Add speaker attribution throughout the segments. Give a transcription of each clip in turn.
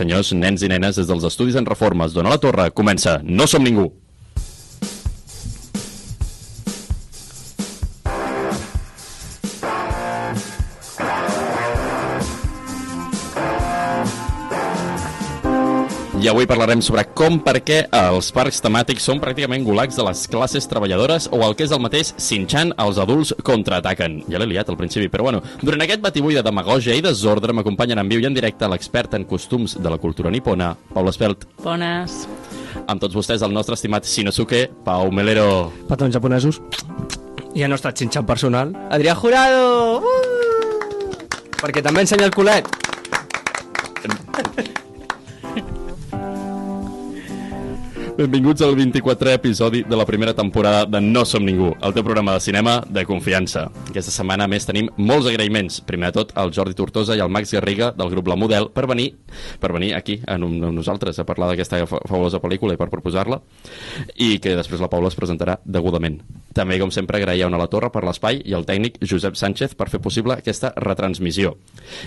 Speaker 1: Senyors, nens i nenes, des dels Estudis en Reforma es dona la torre. Comença No Som Ningú. I avui parlarem sobre com, per què eh, els parcs temàtics són pràcticament gulags de les classes treballadores o el que és el mateix, cinxant els adults contraataquen. Ja l'he liat al principi, però bueno. Durant aquest batibull de demagògia i desordre m'acompanyen en viu i en directe l'expert en costums de la cultura nipona, Paul Espelt.
Speaker 2: Bones.
Speaker 1: Amb tots vostès el nostre estimat Shinosuke, Pau Melero.
Speaker 3: Patrons japonesos. I el nostre xinxan personal. Adrià Jurado! Uh! Perquè també ensenya el culet.
Speaker 1: Benvinguts al 24è episodi de la primera temporada de No Som Ningú, el teu programa de cinema de confiança. Aquesta setmana, a més, tenim molts agraïments. Primer de tot, al Jordi Tortosa i al Max Garriga, del grup La Model, per venir, per venir aquí, a, nom- amb nosaltres, a parlar d'aquesta fa- fabulosa pel·lícula i per proposar-la, i que després la Paula es presentarà degudament. També, com sempre, agrair a Ona la Torre per l'espai i al tècnic Josep Sánchez per fer possible aquesta retransmissió.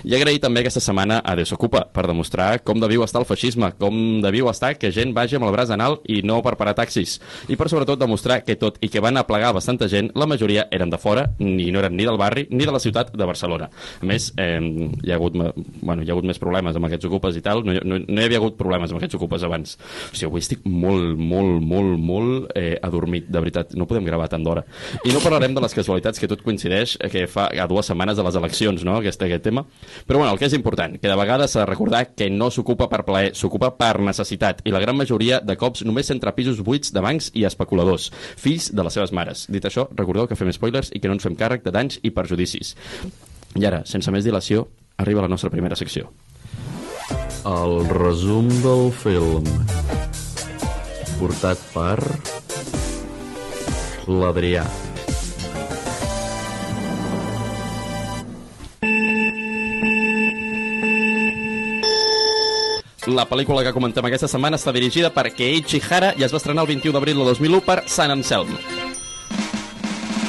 Speaker 1: I agrair també aquesta setmana a Desocupa per demostrar com de viu està el feixisme, com de viu està que gent vagi amb el braç anal i no per parar taxis. I per sobretot demostrar que tot i que van aplegar bastanta gent, la majoria eren de fora i no eren ni del barri ni de la ciutat de Barcelona. A més, eh, hi, ha hagut, ma- bueno, hi ha hagut més problemes amb aquests ocupes i tal, no, hi- no, no hi havia hagut problemes amb aquests ocupes abans. O sigui, avui estic molt, molt, molt, molt eh, adormit, de veritat. No podem gravar tant d'hora. I no parlarem de les casualitats que tot coincideix eh, que fa a dues setmanes de les eleccions, no?, aquest, aquest tema. Però, bueno, el que és important, que de vegades s'ha de recordar que no s'ocupa per plaer, s'ocupa per necessitat, i la gran majoria de cops només entre pisos buits de bancs i especuladors, fills de les seves mares. Dit això, recordeu que fem spoilers i que no ens fem càrrec de danys i perjudicis. I ara, sense més dilació, arriba la nostra primera secció.
Speaker 4: El resum del film portat per l'Adrià.
Speaker 1: La pel·lícula que comentem aquesta setmana està dirigida per Keiichi Hara i es va estrenar el 21 d'abril de 2001 per Sant Anselm.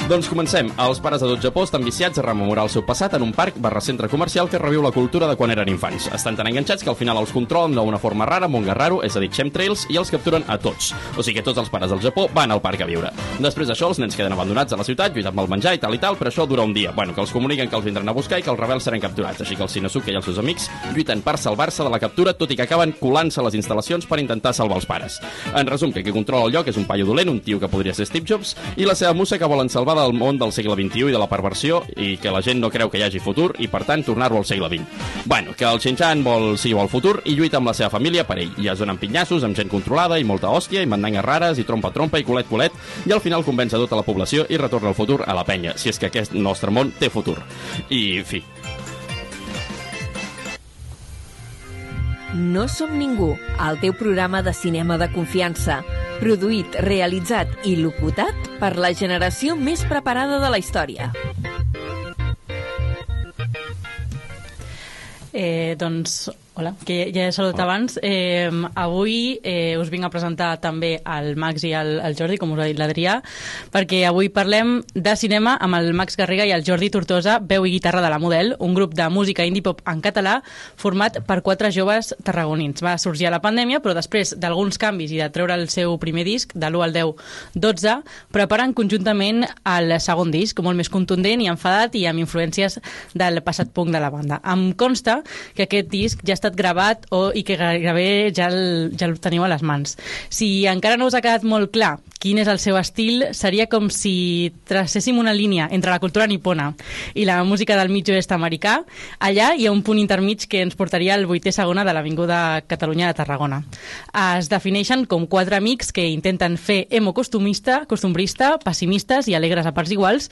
Speaker 1: Doncs comencem. Els pares de tot Japó estan viciats a rememorar el seu passat en un parc barra centre comercial que reviu la cultura de quan eren infants. Estan tan enganxats que al final els controlen d'una forma rara amb un garraro, és a dir, chemtrails, i els capturen a tots. O sigui que tots els pares del Japó van al parc a viure. Després d'això, els nens queden abandonats a la ciutat, lluitant amb el menjar i tal i tal, però això dura un dia. Bueno, que els comuniquen que els vindran a buscar i que els rebels seran capturats. Així que el Shinosuke i els seus amics lluiten per salvar-se de la captura, tot i que acaben colant-se a les instal·lacions per intentar salvar els pares. En resum, que qui controla el lloc és un paio dolent, un tio que podria ser Steve Jobs, i la seva musa que volen salvar del món del segle XXI i de la perversió, i que la gent no creu que hi hagi futur, i per tant tornar-ho al segle XX. Bueno, que el Xinxan vol sí vol futur i lluita amb la seva família per ell. I es donen pinyassos amb gent controlada i molta hòstia, i mandangues rares, i trompa-trompa, i culet-culet, i al final convenç a tota la població i retorna el futur a la penya, si és que aquest nostre món té futur. I, en fi,
Speaker 5: No som ningú, el teu programa de cinema de confiança. Produït, realitzat i locutat per la generació més preparada de la història.
Speaker 2: Eh, doncs, hola, que ja he saludat hola. abans. Eh, avui eh, us vinc a presentar també al Max i al, al Jordi, com us ha dit l'Adrià, perquè avui parlem de cinema amb el Max Garriga i el Jordi Tortosa, veu i guitarra de la Model, un grup de música indie pop en català format per quatre joves tarragonins. Va sorgir a la pandèmia, però després d'alguns canvis i de treure el seu primer disc, de l'1 al 10, 12, preparen conjuntament el segon disc, molt més contundent i enfadat i amb influències del passat punk de la banda. Em consta que aquest disc ja ha estat gravat o, i que gairebé ja el, ja el teniu a les mans. Si encara no us ha quedat molt clar quin és el seu estil, seria com si tracéssim una línia entre la cultura nipona i la música del mig oest americà. Allà hi ha un punt intermig que ens portaria al vuitè segona de l'Avinguda Catalunya de Tarragona. Es defineixen com quatre amics que intenten fer emo costumista, costumbrista, pessimistes i alegres a parts iguals,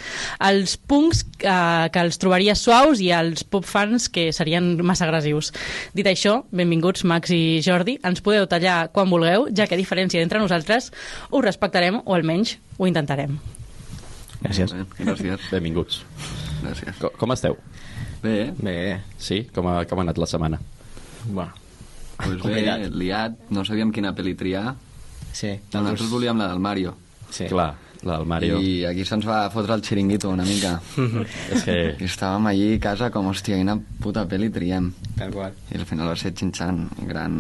Speaker 2: els punks eh, que els trobaries suaus i els pop fans que serien massa agressius. Dit això, benvinguts Max i Jordi, ens podeu tallar quan vulgueu, ja que a diferència d'entre nosaltres us respectarem o almenys ho intentarem.
Speaker 3: Gràcies.
Speaker 4: Gràcies,
Speaker 1: benvinguts.
Speaker 4: gràcies.
Speaker 1: Co- Com esteu?
Speaker 4: Bé,
Speaker 3: Bé,
Speaker 1: Sí? Com ha, com ha anat la setmana?
Speaker 3: bueno,
Speaker 4: doncs bé,
Speaker 3: Complicat.
Speaker 4: liat, no sabíem quina pel·li triar.
Speaker 3: sí.
Speaker 4: Nosaltres volíem la del Mario.
Speaker 3: Sí.
Speaker 1: Clar, La del Mario. I...
Speaker 4: I aquí se'ns va fotre el xiringuito una mica.
Speaker 1: És que...
Speaker 4: I estàvem allí a casa com, hòstia, quina puta pel·li triem.
Speaker 3: Tal qual.
Speaker 4: I al final va ser Chin-chan, gran...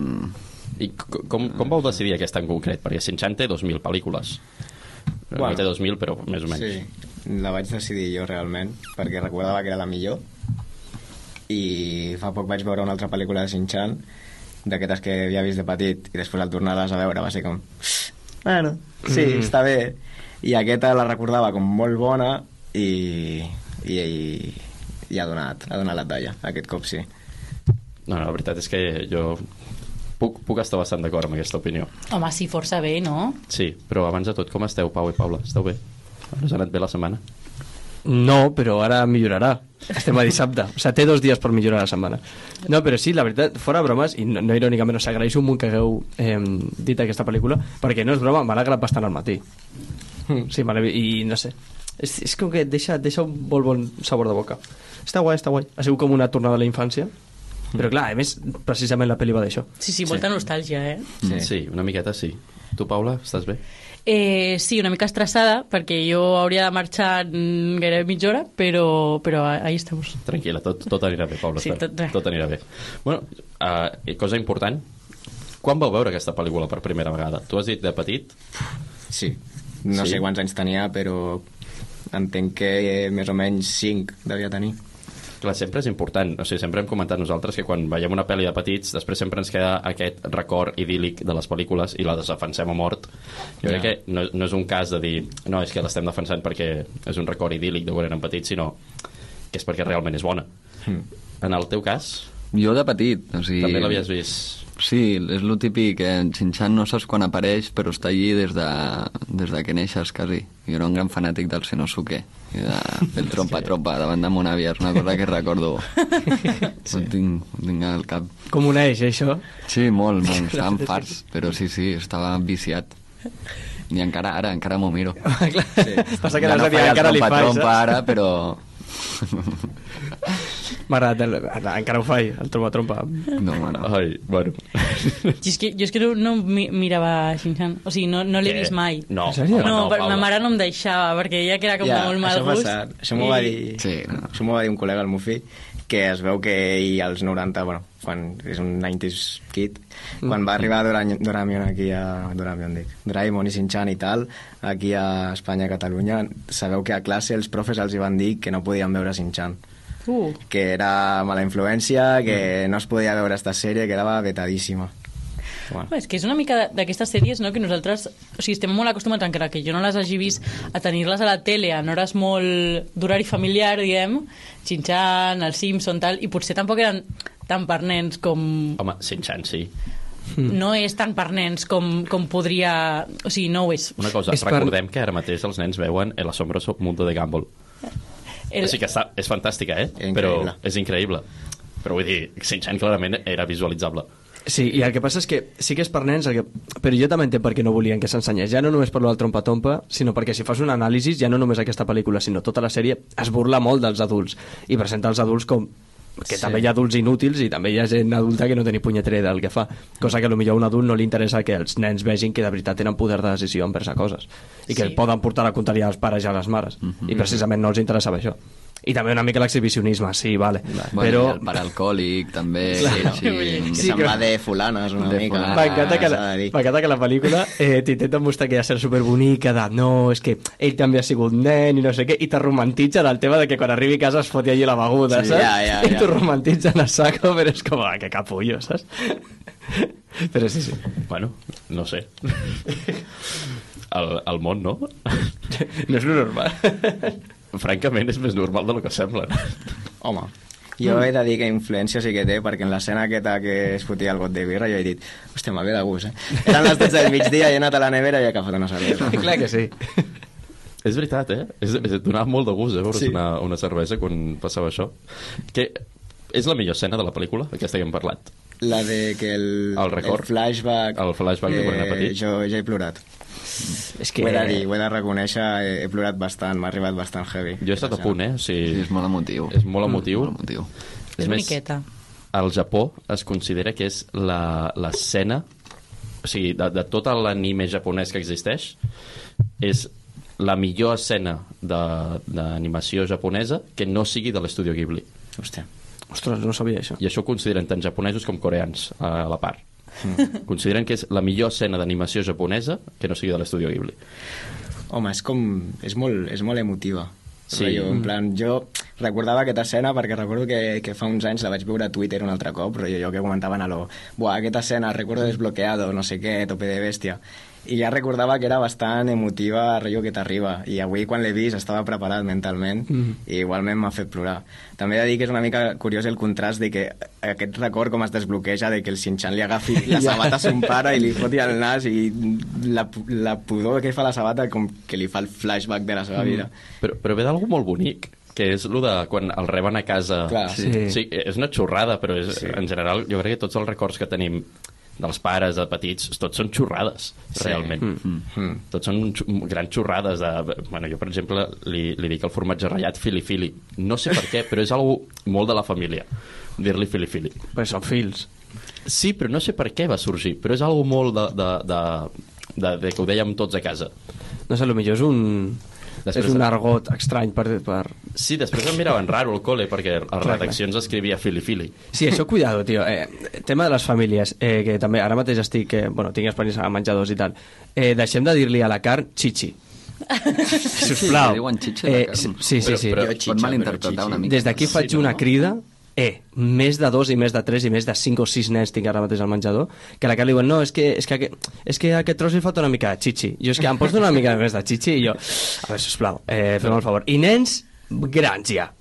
Speaker 1: I co- com, com vau decidir aquesta en concret? Perquè Shin-Chan té 2.000 pel·lícules. Bueno.
Speaker 6: Bueno.
Speaker 1: No té 2.000, però més o menys.
Speaker 6: Sí, la vaig decidir jo realment, perquè recordava que era la millor. I fa poc vaig veure una altra pel·lícula de Shin-Chan, d'aquestes que havia vist de petit, i després al tornar-les a veure va ser com... Bueno, sí, mm. està bé. I aquesta la recordava com molt bona i, i, i, i ha, donat, ha donat la talla, aquest cop sí.
Speaker 1: No, no, la veritat és que jo puc, puc estar bastant d'acord amb aquesta opinió.
Speaker 2: Home, sí, força bé, no?
Speaker 1: Sí, però abans de tot, com esteu, Pau i Paula? Esteu bé? Us ha anat bé la setmana?
Speaker 3: No, però ara millorarà. Estem a dissabte. O sigui, té dos dies per millorar la setmana. No, però sí, la veritat, fora bromes, i no, no irònicament us agraeixo molt que hagueu eh, dit aquesta pel·lícula, perquè no és broma, m'ha alegrat bastant al matí. Sí, me l'he vi- i no sé. És, és com que et deixa, et deixa un molt bon sabor de boca. Està guai, està guai. Ha sigut com una tornada a la infància. Però clar, a més, precisament la pel·li va d'això.
Speaker 2: Sí, sí, molta sí. nostàlgia, eh?
Speaker 6: Sí.
Speaker 1: Mm, sí, una miqueta sí. Tu, Paula, estàs bé?
Speaker 2: Eh, sí, una mica estressada, perquè jo hauria de marxar mm, gairebé mitja hora, però, però a- ahí estem.
Speaker 1: Tranquil·la, tot, tot anirà bé, Paula.
Speaker 2: Sí,
Speaker 1: espera.
Speaker 2: tot bé.
Speaker 1: tot anirà bé. Bueno, uh, cosa important, quan vau veure aquesta pel·lícula per primera vegada? Tu has dit de petit?
Speaker 6: Sí. No
Speaker 1: Sí?
Speaker 6: sé quants anys tenia, però entenc que eh, més o menys 5 devia tenir.
Speaker 1: Clar, sempre és important. O sigui, sempre hem comentat nosaltres que quan veiem una pel·li de petits, després sempre ens queda aquest record idíl·lic de les pel·lícules i la desafensem a mort. Jo crec que no, no és un cas de dir no, és que l'estem defensant perquè és un record idíl·lic de quan érem petits, sinó que és perquè realment és bona. Mm. En el teu cas,
Speaker 4: Jo de petit, o sigui...
Speaker 1: també l'havies vist...
Speaker 4: Sí, és lo típic, que en Xinxan no saps quan apareix, però està allí des de, des de que neixes, quasi. Jo era un gran fanàtic del Senosuke, i de del trompa-trompa davant de mon àvia, és una cosa que recordo. sí. Ho, tinc, ho tinc al cap.
Speaker 3: Com una eix, eh, això.
Speaker 4: Sí, molt, molt, estàvem farts, però sí, sí, estava viciat. I encara ara, encara m'ho miro.
Speaker 3: clar, sí. passa que ja
Speaker 4: no
Speaker 3: l'altre dia
Speaker 4: faig el
Speaker 3: encara li eh? fas,
Speaker 4: trompa-trompa
Speaker 3: saps?
Speaker 4: ara, però...
Speaker 3: M'ha agradat, el- ara encara ho faig, el trompa-trompa.
Speaker 4: No, bueno.
Speaker 1: Ai, bueno.
Speaker 2: Jo és que, jo és que no, no mi- mirava Shin-Chan, o sigui, no, no l'he
Speaker 1: Què?
Speaker 6: Eh,
Speaker 2: vist mai.
Speaker 1: No,
Speaker 3: En sèrio?
Speaker 1: home,
Speaker 2: No,
Speaker 1: no,
Speaker 2: per, ma
Speaker 1: Paula.
Speaker 2: mare no em deixava, perquè ella que era com de molt mal
Speaker 6: això
Speaker 2: gust.
Speaker 6: Va passar. Això m'ho va dir...
Speaker 4: Sí, no.
Speaker 6: Això m'ho va dir un col·lega, el Mufi, que es veu que ell als 90, bueno, quan és un 90s kid, quan
Speaker 4: Mm.
Speaker 6: va arribar Dora- Doraemon aquí a... Doraemon, dic. Doraemon i Shin-Chan i tal, aquí a Espanya, a Catalunya, sabeu que a classe els profes els hi van dir que no podien veure Shin-Chan
Speaker 2: Uh,
Speaker 6: que era mala influència, que
Speaker 4: Mm.
Speaker 6: no es podia veure esta sèrie, que era vetadíssima. Bueno.
Speaker 2: és que és una mica d'aquestes sèries no, que nosaltres o sigui, estem molt acostumats, encara que jo no les hagi vist, a tenir-les a la tele en hores molt d'horari familiar, diguem, Xinxan, el Simpson, tal, i potser tampoc eren tan per nens com...
Speaker 1: Home, Shin-Chan, sí.
Speaker 3: Mm.
Speaker 2: No és tan per nens com, com podria... O sigui, no ho és.
Speaker 1: Una cosa,
Speaker 3: És per-
Speaker 1: recordem que ara mateix els nens veuen El asombroso mundo de Gumball. El...
Speaker 2: El,
Speaker 1: Així que està, és fantàstica, eh?
Speaker 6: Increïble.
Speaker 1: Però és increïble. Però vull dir, Shin-Chan clarament era visualitzable.
Speaker 3: Sí, i el que passa és que sí que és per nens, el que... però jo també entenc per què no volien que s'ensenyés. Ja no només per lo del trompa-tompa, sinó perquè si fas un anàlisi, ja no només aquesta pel·lícula, sinó tota la sèrie, es burla molt dels adults i presenta els adults com que sí. també hi ha adults inútils i també hi ha gent adulta que no té ni punyetera idea del que fa, cosa que potser a un adult no li interessa que els nens vegin que de veritat tenen poder de decisió envers a coses i que
Speaker 2: Sí.
Speaker 3: sí. poden portar la contaria als pares i a les mares
Speaker 4: Mhm.
Speaker 3: i precisament no els interessava això i també una mica l'exhibicionisme, sí, vale,
Speaker 4: Bueno,
Speaker 3: però...
Speaker 4: i el pare alcohòlic, també...
Speaker 3: Clar.
Speaker 4: Sí,
Speaker 6: Que
Speaker 4: sí.
Speaker 6: se'n
Speaker 3: que-
Speaker 6: va de fulanes una
Speaker 4: De
Speaker 6: mica.
Speaker 4: fulanes.
Speaker 3: M'encanta que,
Speaker 6: Ah, s'ha
Speaker 3: la-
Speaker 6: de dir.
Speaker 3: m'encanta que la pel·lícula eh, t'intenta mostrar que ha de ser superbonica, de no, és que ell també ha sigut nen i no sé què, i te romantitza el tema de que quan arribi a casa es foti allí la beguda,
Speaker 6: Sí,
Speaker 3: saps?
Speaker 6: ja, ja,
Speaker 3: I
Speaker 6: ja.
Speaker 3: t'ho romantitzen a saco, però és com, ah, que capullo, saps? però sí, sí.
Speaker 1: Bueno, no sé. El, el món, no?
Speaker 3: No és lo normal.
Speaker 1: Francament, és més normal del que sembla.
Speaker 6: Home, jo he de dir que influència sí que té, perquè en l'escena aquesta que es fotia el got de birra jo he dit, hòstia, m'ha ve de gust, eh? Eren les 12 del migdia, he anat a la nevera i he agafat una cervesa.
Speaker 3: Clar que sí.
Speaker 1: és veritat, eh? És, és, donava molt de gust, eh? Veure's
Speaker 6: Sí.
Speaker 1: sí. una, una cervesa quan passava això. Que és la millor escena de la pel·lícula, aquesta que hem parlat.
Speaker 6: La de que el,
Speaker 1: El record.
Speaker 6: el flashback...
Speaker 1: El flashback de quan era petit.
Speaker 6: Jo ja he plorat.
Speaker 3: És
Speaker 6: Que... Ho he de dir, ho he de reconèixer, he, he plorat bastant, m'ha arribat bastant heavy.
Speaker 1: Jo he estat a punt, eh? O
Speaker 4: Sí,
Speaker 1: sigui,
Speaker 4: és molt emotiu.
Speaker 1: és molt emotiu.
Speaker 4: Molt emotiu.
Speaker 2: és boniqueta.
Speaker 1: al Japó es considera que és la- l'escena o sigui, de, de tot l'anime japonès que existeix és la millor escena de- d'animació japonesa que no sigui de l'estudio Ghibli.
Speaker 6: Hòstia.
Speaker 3: Ostres, no sabia això.
Speaker 1: I això ho consideren tant japonesos com coreans a la part. Mm. Consideren que és la millor escena d'animació japonesa que no sigui de l'estudio Ghibli.
Speaker 6: Home, és com... És molt, és molt emotiva.
Speaker 1: Sí. Mm.
Speaker 6: Sí. Jo, en plan, jo recordava aquesta escena perquè recordo que, que fa uns anys la vaig veure a Twitter un altre cop, però jo que comentaven a lo... Buah, aquesta escena, recuerdo desbloqueado, no sé què, tope de bèstia. I ja recordava que era bastant emotiva, rotllo que t'arriba. I avui, quan l'he vist, estava preparat mentalment
Speaker 3: Mhm.
Speaker 6: i igualment m'ha fet plorar. També he de dir que és una mica curiós el contrast de que aquest record com es desbloqueja de que el Shin-chan li agafi la sabata a son pare i li foti el nas i la, pu- la pudor que fa la sabata com que li fa el flashback de la seva vida.
Speaker 1: Però, però ve d'algú molt bonic, que és lo de quan el reben a casa.
Speaker 6: Clar.
Speaker 1: sí.
Speaker 3: Sí.
Speaker 1: sí. És una xorrada, però és, sí.
Speaker 6: Sí.
Speaker 1: en general jo crec que tots els records que tenim dels pares, de petits, tots són xorrades, sí.
Speaker 6: Sí.
Speaker 1: realment. Mm.
Speaker 6: Mm.
Speaker 1: Tots són xu- grans xorrades. De... Bueno, jo, per exemple, li, li dic el formatge ratllat fili-fili. No sé per què, però és algo molt de la família, dir-li fili-fili.
Speaker 3: Però són fils.
Speaker 1: Sí, però no sé per què va sorgir, però és algo molt de, de, de, de, de que ho dèiem tots a casa.
Speaker 3: No sé, potser és un...
Speaker 1: Després
Speaker 3: Després és un
Speaker 1: de-
Speaker 3: argot estrany per... per...
Speaker 1: Sí, després em miraven raro al col·le perquè a les
Speaker 3: clar.
Speaker 1: redaccions escrivia fili-fili.
Speaker 3: Sí, això, cuidado, tio. Eh, tema de les famílies, eh, que també ara mateix estic... Eh, bueno, tinc experiència a menjadors i tal. Eh, deixem de dir-li a la carn chichi. Sisplau.
Speaker 4: li diuen chichi a la carn.
Speaker 3: sí, sí, sí.
Speaker 1: Però-
Speaker 3: sí.
Speaker 1: però-
Speaker 4: Pot
Speaker 6: Xitxa,
Speaker 4: malinterpretar
Speaker 6: però
Speaker 4: una mica.
Speaker 3: Des d'aquí faig
Speaker 1: Sí, no?
Speaker 3: una crida eh, més de dos i més de tres i més de cinc o sis nens tinc ara mateix al menjador que a la que li diuen, no, és que, és que, aquest, és que a aquest tros li falta una mica de xixi jo és que em pots donar una mica més de xixi i jo, a veure, sisplau, eh, fem el favor i nens grans ja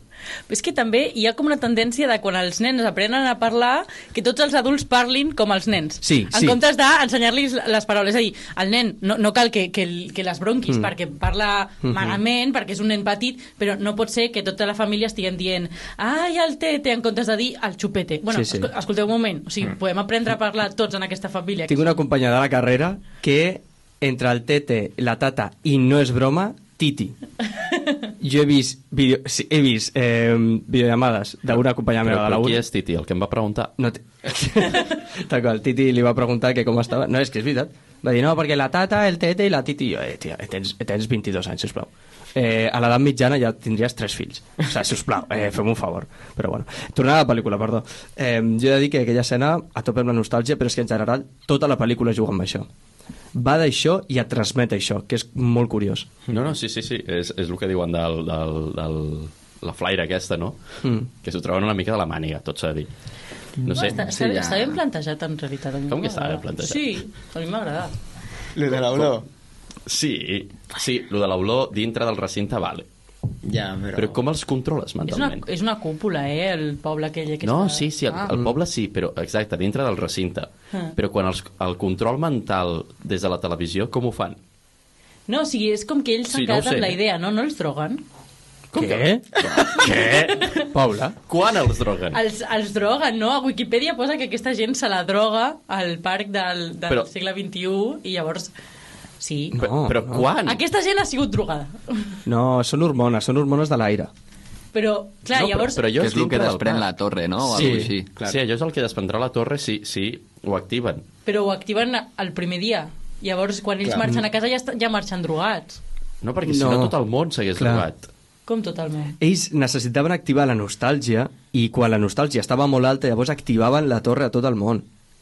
Speaker 2: És que també hi ha com una tendència de quan els nens aprenen a parlar, que tots els adults parlin com els nens.
Speaker 3: Sí,
Speaker 2: en
Speaker 3: sí.
Speaker 2: comptes d'ensenyar-los les paraules. És a dir, el nen no, no cal que, que, el- que les bronquis mm. perquè parla
Speaker 3: Mm-hmm.
Speaker 2: malament, perquè és un nen petit, però no pot ser que tota la família estiguen dient ai, el tete, en comptes de dir el xupete. Bueno,
Speaker 3: Sí, Mm. sí.
Speaker 2: esco- escolteu un moment, o sigui, podem aprendre a parlar tots en aquesta família.
Speaker 3: tinc una companya de la carrera que entre el tete, la tata i no és broma, titi jo he vist, video, sí, he vist eh, videollamades d'una companya
Speaker 1: Però,
Speaker 3: meva de la
Speaker 1: però qui
Speaker 3: uni
Speaker 1: és Titi? El que em va preguntar...
Speaker 3: No te... Tal qual, Titi li va preguntar que com estava. No, és que és veritat. Va dir, no, perquè la tata, el tete i la titi... Jo, eh, tia, eh, tens, eh, tens 22 anys, sisplau. Eh, a l'edat mitjana ja tindries tres fills. O sigui, sisplau, eh, fem un favor. Però bueno, tornant a la pel·lícula, perdó. Eh, jo he de dir que aquella escena a tope amb la nostàlgia, però és que en general tota la pel·lícula juga amb això. Va d'això i et transmet això, que és molt curiós.
Speaker 1: No, no, sí, sí, sí. És, és el que diuen del, del, del, la flaire aquesta, no?
Speaker 3: Mm.
Speaker 1: Que s'ho troben una mica de la màniga, tot s'ha de dir. No sé,
Speaker 2: està, està,
Speaker 4: sí, ja.
Speaker 2: està ben plantejat, en realitat. a mi
Speaker 1: Com que està
Speaker 2: m'agrada.
Speaker 1: ben plantejat?
Speaker 2: Sí, a mi m'agrada.
Speaker 6: Lo de la olor.
Speaker 1: sí, sí, lo de l'olor dintre del recinte, vale.
Speaker 6: Ja, però...
Speaker 1: Però com els controles
Speaker 2: És una,
Speaker 1: mentalment?
Speaker 2: és una cúpula, eh, el poble aquell. Que
Speaker 1: No,
Speaker 2: està...
Speaker 1: sí, sí, el,
Speaker 2: Ah.
Speaker 1: el poble sí, però exacte, dintre del recinte.
Speaker 2: Ah.
Speaker 1: Però quan els, el control mental des de la televisió, com ho fan?
Speaker 2: No, o sigui, és com que ells s'han
Speaker 1: Sí,
Speaker 2: sí,
Speaker 1: no ho
Speaker 2: quedat
Speaker 1: sé.
Speaker 2: amb la idea, no? No els droguen?
Speaker 1: Com
Speaker 3: Què? Què? Paula?
Speaker 1: Quan els droguen? El...
Speaker 2: Els, els droguen, no? A Wikipedia posa que aquesta gent se la droga al parc del, del
Speaker 1: Però-
Speaker 2: Però... segle XXI i llavors... Sí.
Speaker 1: No, però
Speaker 3: No,
Speaker 1: però
Speaker 3: no.
Speaker 1: quan?
Speaker 2: Aquesta gent ha sigut drogada.
Speaker 3: No, són hormones, són hormones de l'aire.
Speaker 2: Però, clar,
Speaker 1: no,
Speaker 2: no, llavors...
Speaker 1: però, però jo
Speaker 4: que és el
Speaker 1: dintre
Speaker 4: que
Speaker 1: del
Speaker 4: desprèn
Speaker 1: parc.
Speaker 4: la torre, no? O
Speaker 3: Sí.
Speaker 4: alguna així.
Speaker 1: Clar. Sí, allò és el que desprendrà la torre si, si ho activen.
Speaker 2: però ho activen el primer dia. Llavors, quan ells
Speaker 6: Clar.
Speaker 2: clar. marxen
Speaker 1: Mm.
Speaker 2: a casa ja, està, ja marxen drogats.
Speaker 1: No, perquè si no
Speaker 3: No.
Speaker 1: tot el món s'hagués
Speaker 3: Clar.
Speaker 1: drogat.
Speaker 2: Com totalment.
Speaker 3: ells necessitaven activar la nostàlgia i quan la nostàlgia estava molt alta llavors activaven la torre a tot el món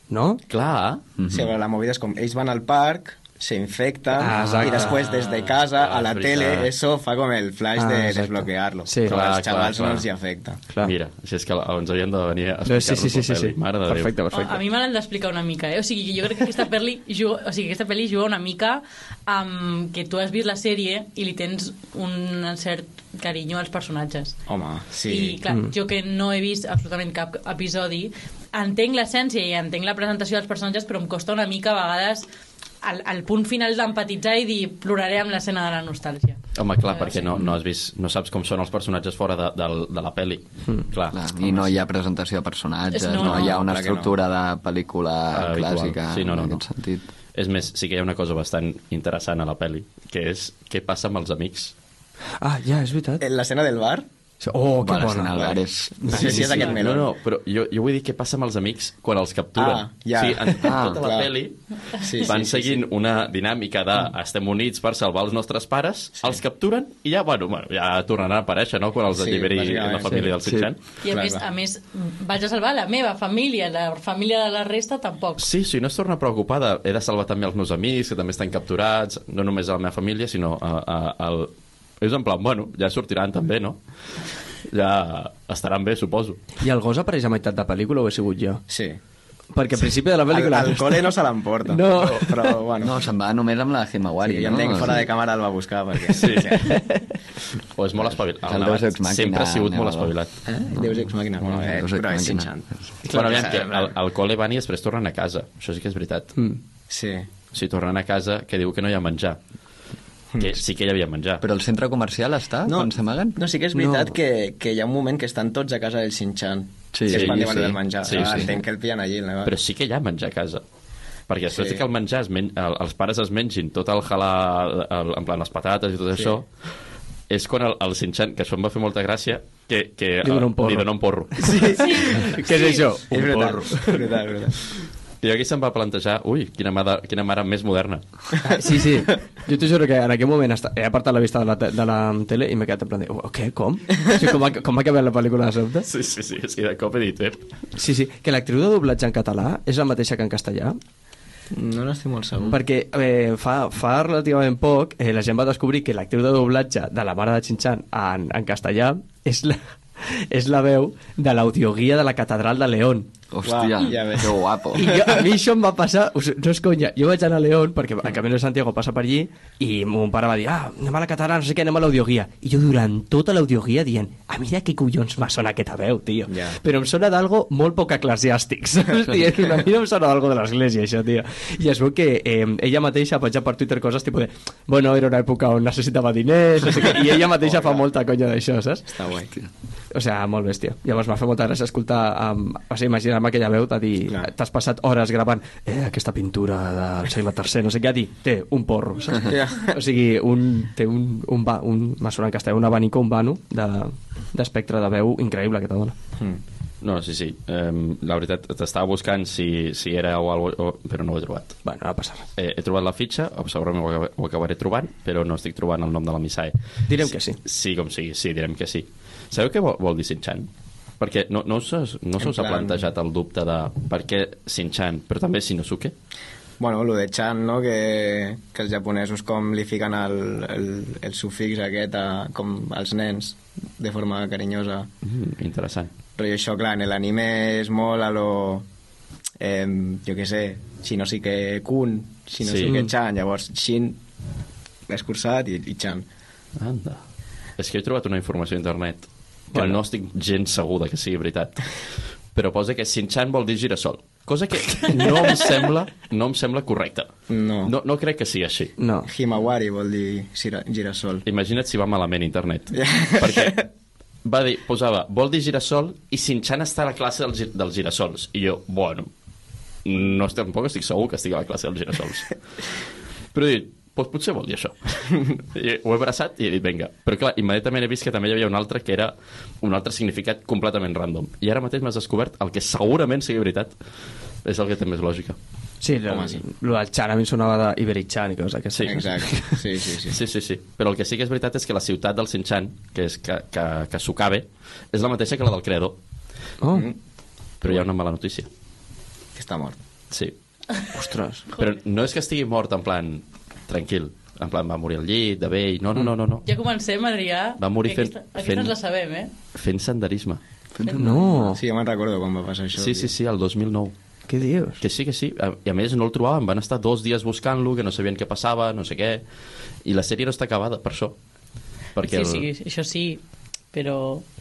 Speaker 3: no?
Speaker 1: Clar.
Speaker 6: Sí, però la movida és com... Ells van al parc, s'infecten,
Speaker 3: Ah,
Speaker 6: ah,
Speaker 3: exacte.
Speaker 6: i després des de casa,
Speaker 1: Ah,
Speaker 6: a la
Speaker 1: és
Speaker 6: tele,
Speaker 1: veritat.
Speaker 6: eso fa com el flash
Speaker 3: Ah,
Speaker 6: de
Speaker 3: exacte.
Speaker 6: desbloquear-lo.
Speaker 3: Sí.
Speaker 6: però
Speaker 1: Clar,
Speaker 6: als xavals
Speaker 1: clar, clar.
Speaker 6: no els hi afecta.
Speaker 1: Clar. Mira, si és que ens havien de venir a
Speaker 3: No,
Speaker 1: explicar-nos
Speaker 3: sí, sí, sí, sí,
Speaker 1: la
Speaker 3: sí.
Speaker 1: peli. Mare de Déu.
Speaker 3: perfecte,
Speaker 2: A,
Speaker 3: perfecte
Speaker 2: a mi me l'han d'explicar una mica, eh? O sigui, jo crec que aquesta pel·li juga, o sigui, aquesta pel·li juga una mica amb que tu has vist la sèrie i li tens un cert carinyo als personatges.
Speaker 6: Home, sí.
Speaker 2: I, clar, mm. jo que no he vist absolutament cap episodi, entenc l'essència i entenc la presentació dels personatges, però em costa una mica a vegades al, al punt final d'empatitzar i dir ploraré amb l'escena de la nostàlgia.
Speaker 1: Home, clar, perquè no, no, has vist, no saps com són els personatges fora de, de, de la pel·li. Mm.
Speaker 3: Hmm.
Speaker 1: Clar.
Speaker 4: Clar, I no hi ha presentació de personatges,
Speaker 2: És-
Speaker 4: no,
Speaker 2: no,
Speaker 4: no hi ha
Speaker 2: no,
Speaker 4: una
Speaker 6: clar que no.
Speaker 4: estructura de pel·lícula
Speaker 1: Habitual.
Speaker 4: clàssica,
Speaker 1: Sí, no, no,
Speaker 4: en
Speaker 1: no.
Speaker 4: aquest sentit.
Speaker 1: És més, sí que hi ha una cosa bastant interessant a la pel·li, que és què passa amb els amics.
Speaker 6: Oh.
Speaker 3: ah, ja, és veritat
Speaker 6: En L'escena del bar,
Speaker 3: Oh, que
Speaker 4: Vale,
Speaker 3: bona.
Speaker 4: Algar és...
Speaker 6: No sé si és aquest meló.
Speaker 1: No, no, però jo, jo vull dir què passa amb els amics quan els capturen.
Speaker 6: Ah,
Speaker 1: O
Speaker 6: ja.
Speaker 1: sigui, en
Speaker 4: Ah,
Speaker 1: tota la
Speaker 6: clar.
Speaker 1: peli
Speaker 6: Sí, sí,
Speaker 1: van
Speaker 6: sí,
Speaker 1: seguint una dinàmica de estem units per salvar els nostres pares, els capturen i ja, bueno, bueno, ja tornaran a aparèixer, no?, quan els
Speaker 6: Sí,
Speaker 1: alliberi
Speaker 6: bàsicament,
Speaker 1: la família del
Speaker 4: sí.
Speaker 1: Sitxan.
Speaker 2: I a
Speaker 6: Clar,
Speaker 2: més,
Speaker 6: clar.
Speaker 2: a més, vaig a salvar la meva família, la família de la resta tampoc.
Speaker 1: Sí, sí, no es torna preocupada. He de salvar també els meus amics, que també estan capturats, no només a la meva família, sinó a, a, al... És en plan, bueno, ja sortiran també, no? Ja estaran bé, suposo.
Speaker 3: I el gos apareix a meitat de pel·lícula o he sigut jo?
Speaker 6: Sí.
Speaker 3: Perquè al principi de la pel·lícula...
Speaker 6: Al, al col·le no se l'emporta.
Speaker 3: No.
Speaker 6: Però, bueno,
Speaker 4: No,
Speaker 6: no,
Speaker 4: se'n va només amb la Himawari,
Speaker 6: sí, jo
Speaker 4: no?
Speaker 6: entenc fora de càmera el va buscar, perquè... Sí, sí.
Speaker 1: O és molt espavilat.
Speaker 4: El
Speaker 1: El
Speaker 4: Deus
Speaker 1: Navat
Speaker 4: Ex Machina,
Speaker 1: sempre ha sigut molt
Speaker 4: Nevador.
Speaker 1: espavilat.
Speaker 6: Eh? Deus Ex Machina. Bueno, eh,
Speaker 4: Deus Ex
Speaker 6: però és
Speaker 4: Machina.
Speaker 6: Shin-Chan.
Speaker 1: Però aviam, que al, al col·le van i després tornen a casa. Això sí que és veritat.
Speaker 6: Sí.
Speaker 1: O sigui, tornen a casa que diu que no hi ha menjar. Que sí que hi havia menjar.
Speaker 4: Però el centre comercial està no. quan s'amaguen?
Speaker 6: No, sí que és veritat no. que, que hi ha un moment que estan tots a casa del Shin-Chan.
Speaker 4: Sí,
Speaker 6: que
Speaker 4: sí,
Speaker 6: es van
Speaker 4: sí.
Speaker 6: del menjar.
Speaker 1: Sí,
Speaker 6: Sí, ah,
Speaker 1: sí.
Speaker 6: Entenc que el pillen allí. No?
Speaker 1: Però sí que hi ha menjar a casa. Perquè després
Speaker 6: Sí.
Speaker 1: sí. que el menjar, es men... el, els pares es mengin tot el halà, el, en plan les patates i tot sí. això, és quan el, el Sinchan, que això em va fer molta gràcia, que, que
Speaker 3: Li dona un
Speaker 1: eh,
Speaker 3: porro.
Speaker 1: Li dona un porro.
Speaker 3: Sí. sí. Què és això?
Speaker 6: és veritat, és veritat, és veritat.
Speaker 1: I aquí se'm va plantejar, ui, quina mare, quina mare més moderna.
Speaker 3: Sí, sí. Jo t'ho juro que en aquell moment esta- he apartat la vista de la, te de la tele i m'he quedat en plan de... "Oh, Què? Com? O sigui, com, va, com va acabar la pel·lícula de sobte?
Speaker 1: Sí, sí, sí, sí de cop he dit, eh?
Speaker 3: Sí, sí. Que l'actriu de doblatge en català és la mateixa que en castellà?
Speaker 6: No n'estic molt segur.
Speaker 3: Perquè eh, fa, fa relativament poc eh, la gent va descobrir que l'actriu de doblatge de la mare de Xinxan en, en castellà és la, és la veu de l'audioguia de la catedral de León.
Speaker 4: Hòstia,
Speaker 6: Uau, ja ves.
Speaker 4: que guapo.
Speaker 3: I jo, a mi això em va passar, us- no és conya, jo vaig anar a León, perquè el Camino de Santiago passa per allí, i mon pare va dir, ah, anem a la catedral, no sé què, anem a l'audioguia. I jo durant tota l'audioguia dient, a mi de què collons me sona aquesta veu, tio.
Speaker 6: Ja.
Speaker 3: Però em sona d'algo molt poc eclesiàstic, saps? Dient, a mi no em sona d'algo de l'església, això, tio. I es veu que eh, ella mateixa ha penjat per Twitter coses tipus de, bueno, era una època on necessitava diners, no sé què, i ella mateixa fa molta conya d'això, saps?
Speaker 6: Està guai.
Speaker 3: O sigui, molt bèstia. Llavors m'ha fet molta gràcia escoltar, um, o sigui, imaginar-me aquella veu de dir,
Speaker 6: Clar.
Speaker 3: t'has passat hores gravant eh, aquesta pintura del segle III, no sé què, a dir, té un porro, saps?
Speaker 6: Ja.
Speaker 3: O sigui, un, té un, un, va, un, m'ha sonat en castellà, un abanico, un vano de- d'espectre de, de veu increïble que te dona.
Speaker 6: Mm.
Speaker 1: No, sí, sí. Um, la veritat, t'estava buscant si, si era o algo, o, però no ho he trobat.
Speaker 3: Bueno, no passa res.
Speaker 1: Eh, he trobat la fitxa, o segurament ho, acab- ho acabaré trobant, però no estic trobant el nom de la missae.
Speaker 3: Direm que sí.
Speaker 1: Sí, com sigui, sí, direm que sí. Sabeu què vol, vol dir Sinchan? Perquè no, no, us, no se us ha
Speaker 6: plan-
Speaker 1: plantejat el dubte de per què Sinchan, però també Shinosuke?
Speaker 6: Bueno, lo de Chan, no?, que, que els japonesos com li fiquen el, el, el sufix aquest a, com als nens, de forma carinyosa.
Speaker 1: Mm, interessant.
Speaker 6: Però això, clar, en l'anime és molt a lo... Eh, jo què sé, si no sí que kun, si no
Speaker 1: Sí. Mm.
Speaker 6: sí, que chan, llavors shin escurçat i, i chan.
Speaker 1: Anda. És que he trobat una informació a internet que bueno. no estic gens segur de que sigui veritat. Però posa que Sinchan vol dir girassol. Cosa que no em sembla, no em sembla correcta.
Speaker 6: No.
Speaker 1: no. No crec que sigui així.
Speaker 3: No.
Speaker 6: Himawari vol dir gira- girassol.
Speaker 1: Imagina't si va malament internet. Perquè va dir, posava, vol dir girassol i Sinchan està a la classe dels, gi- dels girassols. I jo, bueno, no estic, tampoc estic segur que estigui a la classe dels girassols. Però he dit, doncs potser vol dir això. I ho he abraçat i he dit, vinga. Però clar, immediatament he vist que també hi havia un altre que era un altre significat completament random. I ara mateix m'has descobert el que segurament sigui veritat és el que té més lògica.
Speaker 3: Sí, el,
Speaker 6: Home, sí.
Speaker 3: lo del Chan a mi em sonava d'Iberichan i coses d'aquestes.
Speaker 1: Sí.
Speaker 6: Exacte, sí, sí, sí.
Speaker 1: Sí, sí, sí. Però el que sí que és veritat és que la ciutat del Sinchan, que és que, que, que Sukabe, és la mateixa que la del creador.
Speaker 3: Oh,
Speaker 6: Mm.
Speaker 1: Però hi ha una mala notícia.
Speaker 6: Que està mort.
Speaker 1: Sí.
Speaker 3: ostres.
Speaker 1: Però no és que estigui mort en plan tranquil, en plan va morir al llit, de vell, no, no, no, no, no.
Speaker 2: Ja comencem, Adrià.
Speaker 1: Va morir
Speaker 2: que Aquesta,
Speaker 1: fent-
Speaker 2: aquesta
Speaker 1: fent-
Speaker 2: ens la sabem, eh?
Speaker 1: Fent senderisme.
Speaker 3: No,
Speaker 6: Sí, jo me'n recordo quan va passar això.
Speaker 1: Sí, sí, sí, el 2009.
Speaker 3: què dius?
Speaker 1: Que sí, que sí. A- I a més no el trobaven, van estar dos dies buscant-lo, que no sabien què passava, no sé què. I la sèrie no està acabada, per això. Perquè
Speaker 2: Sí, sí,
Speaker 1: el...
Speaker 2: això sí, però...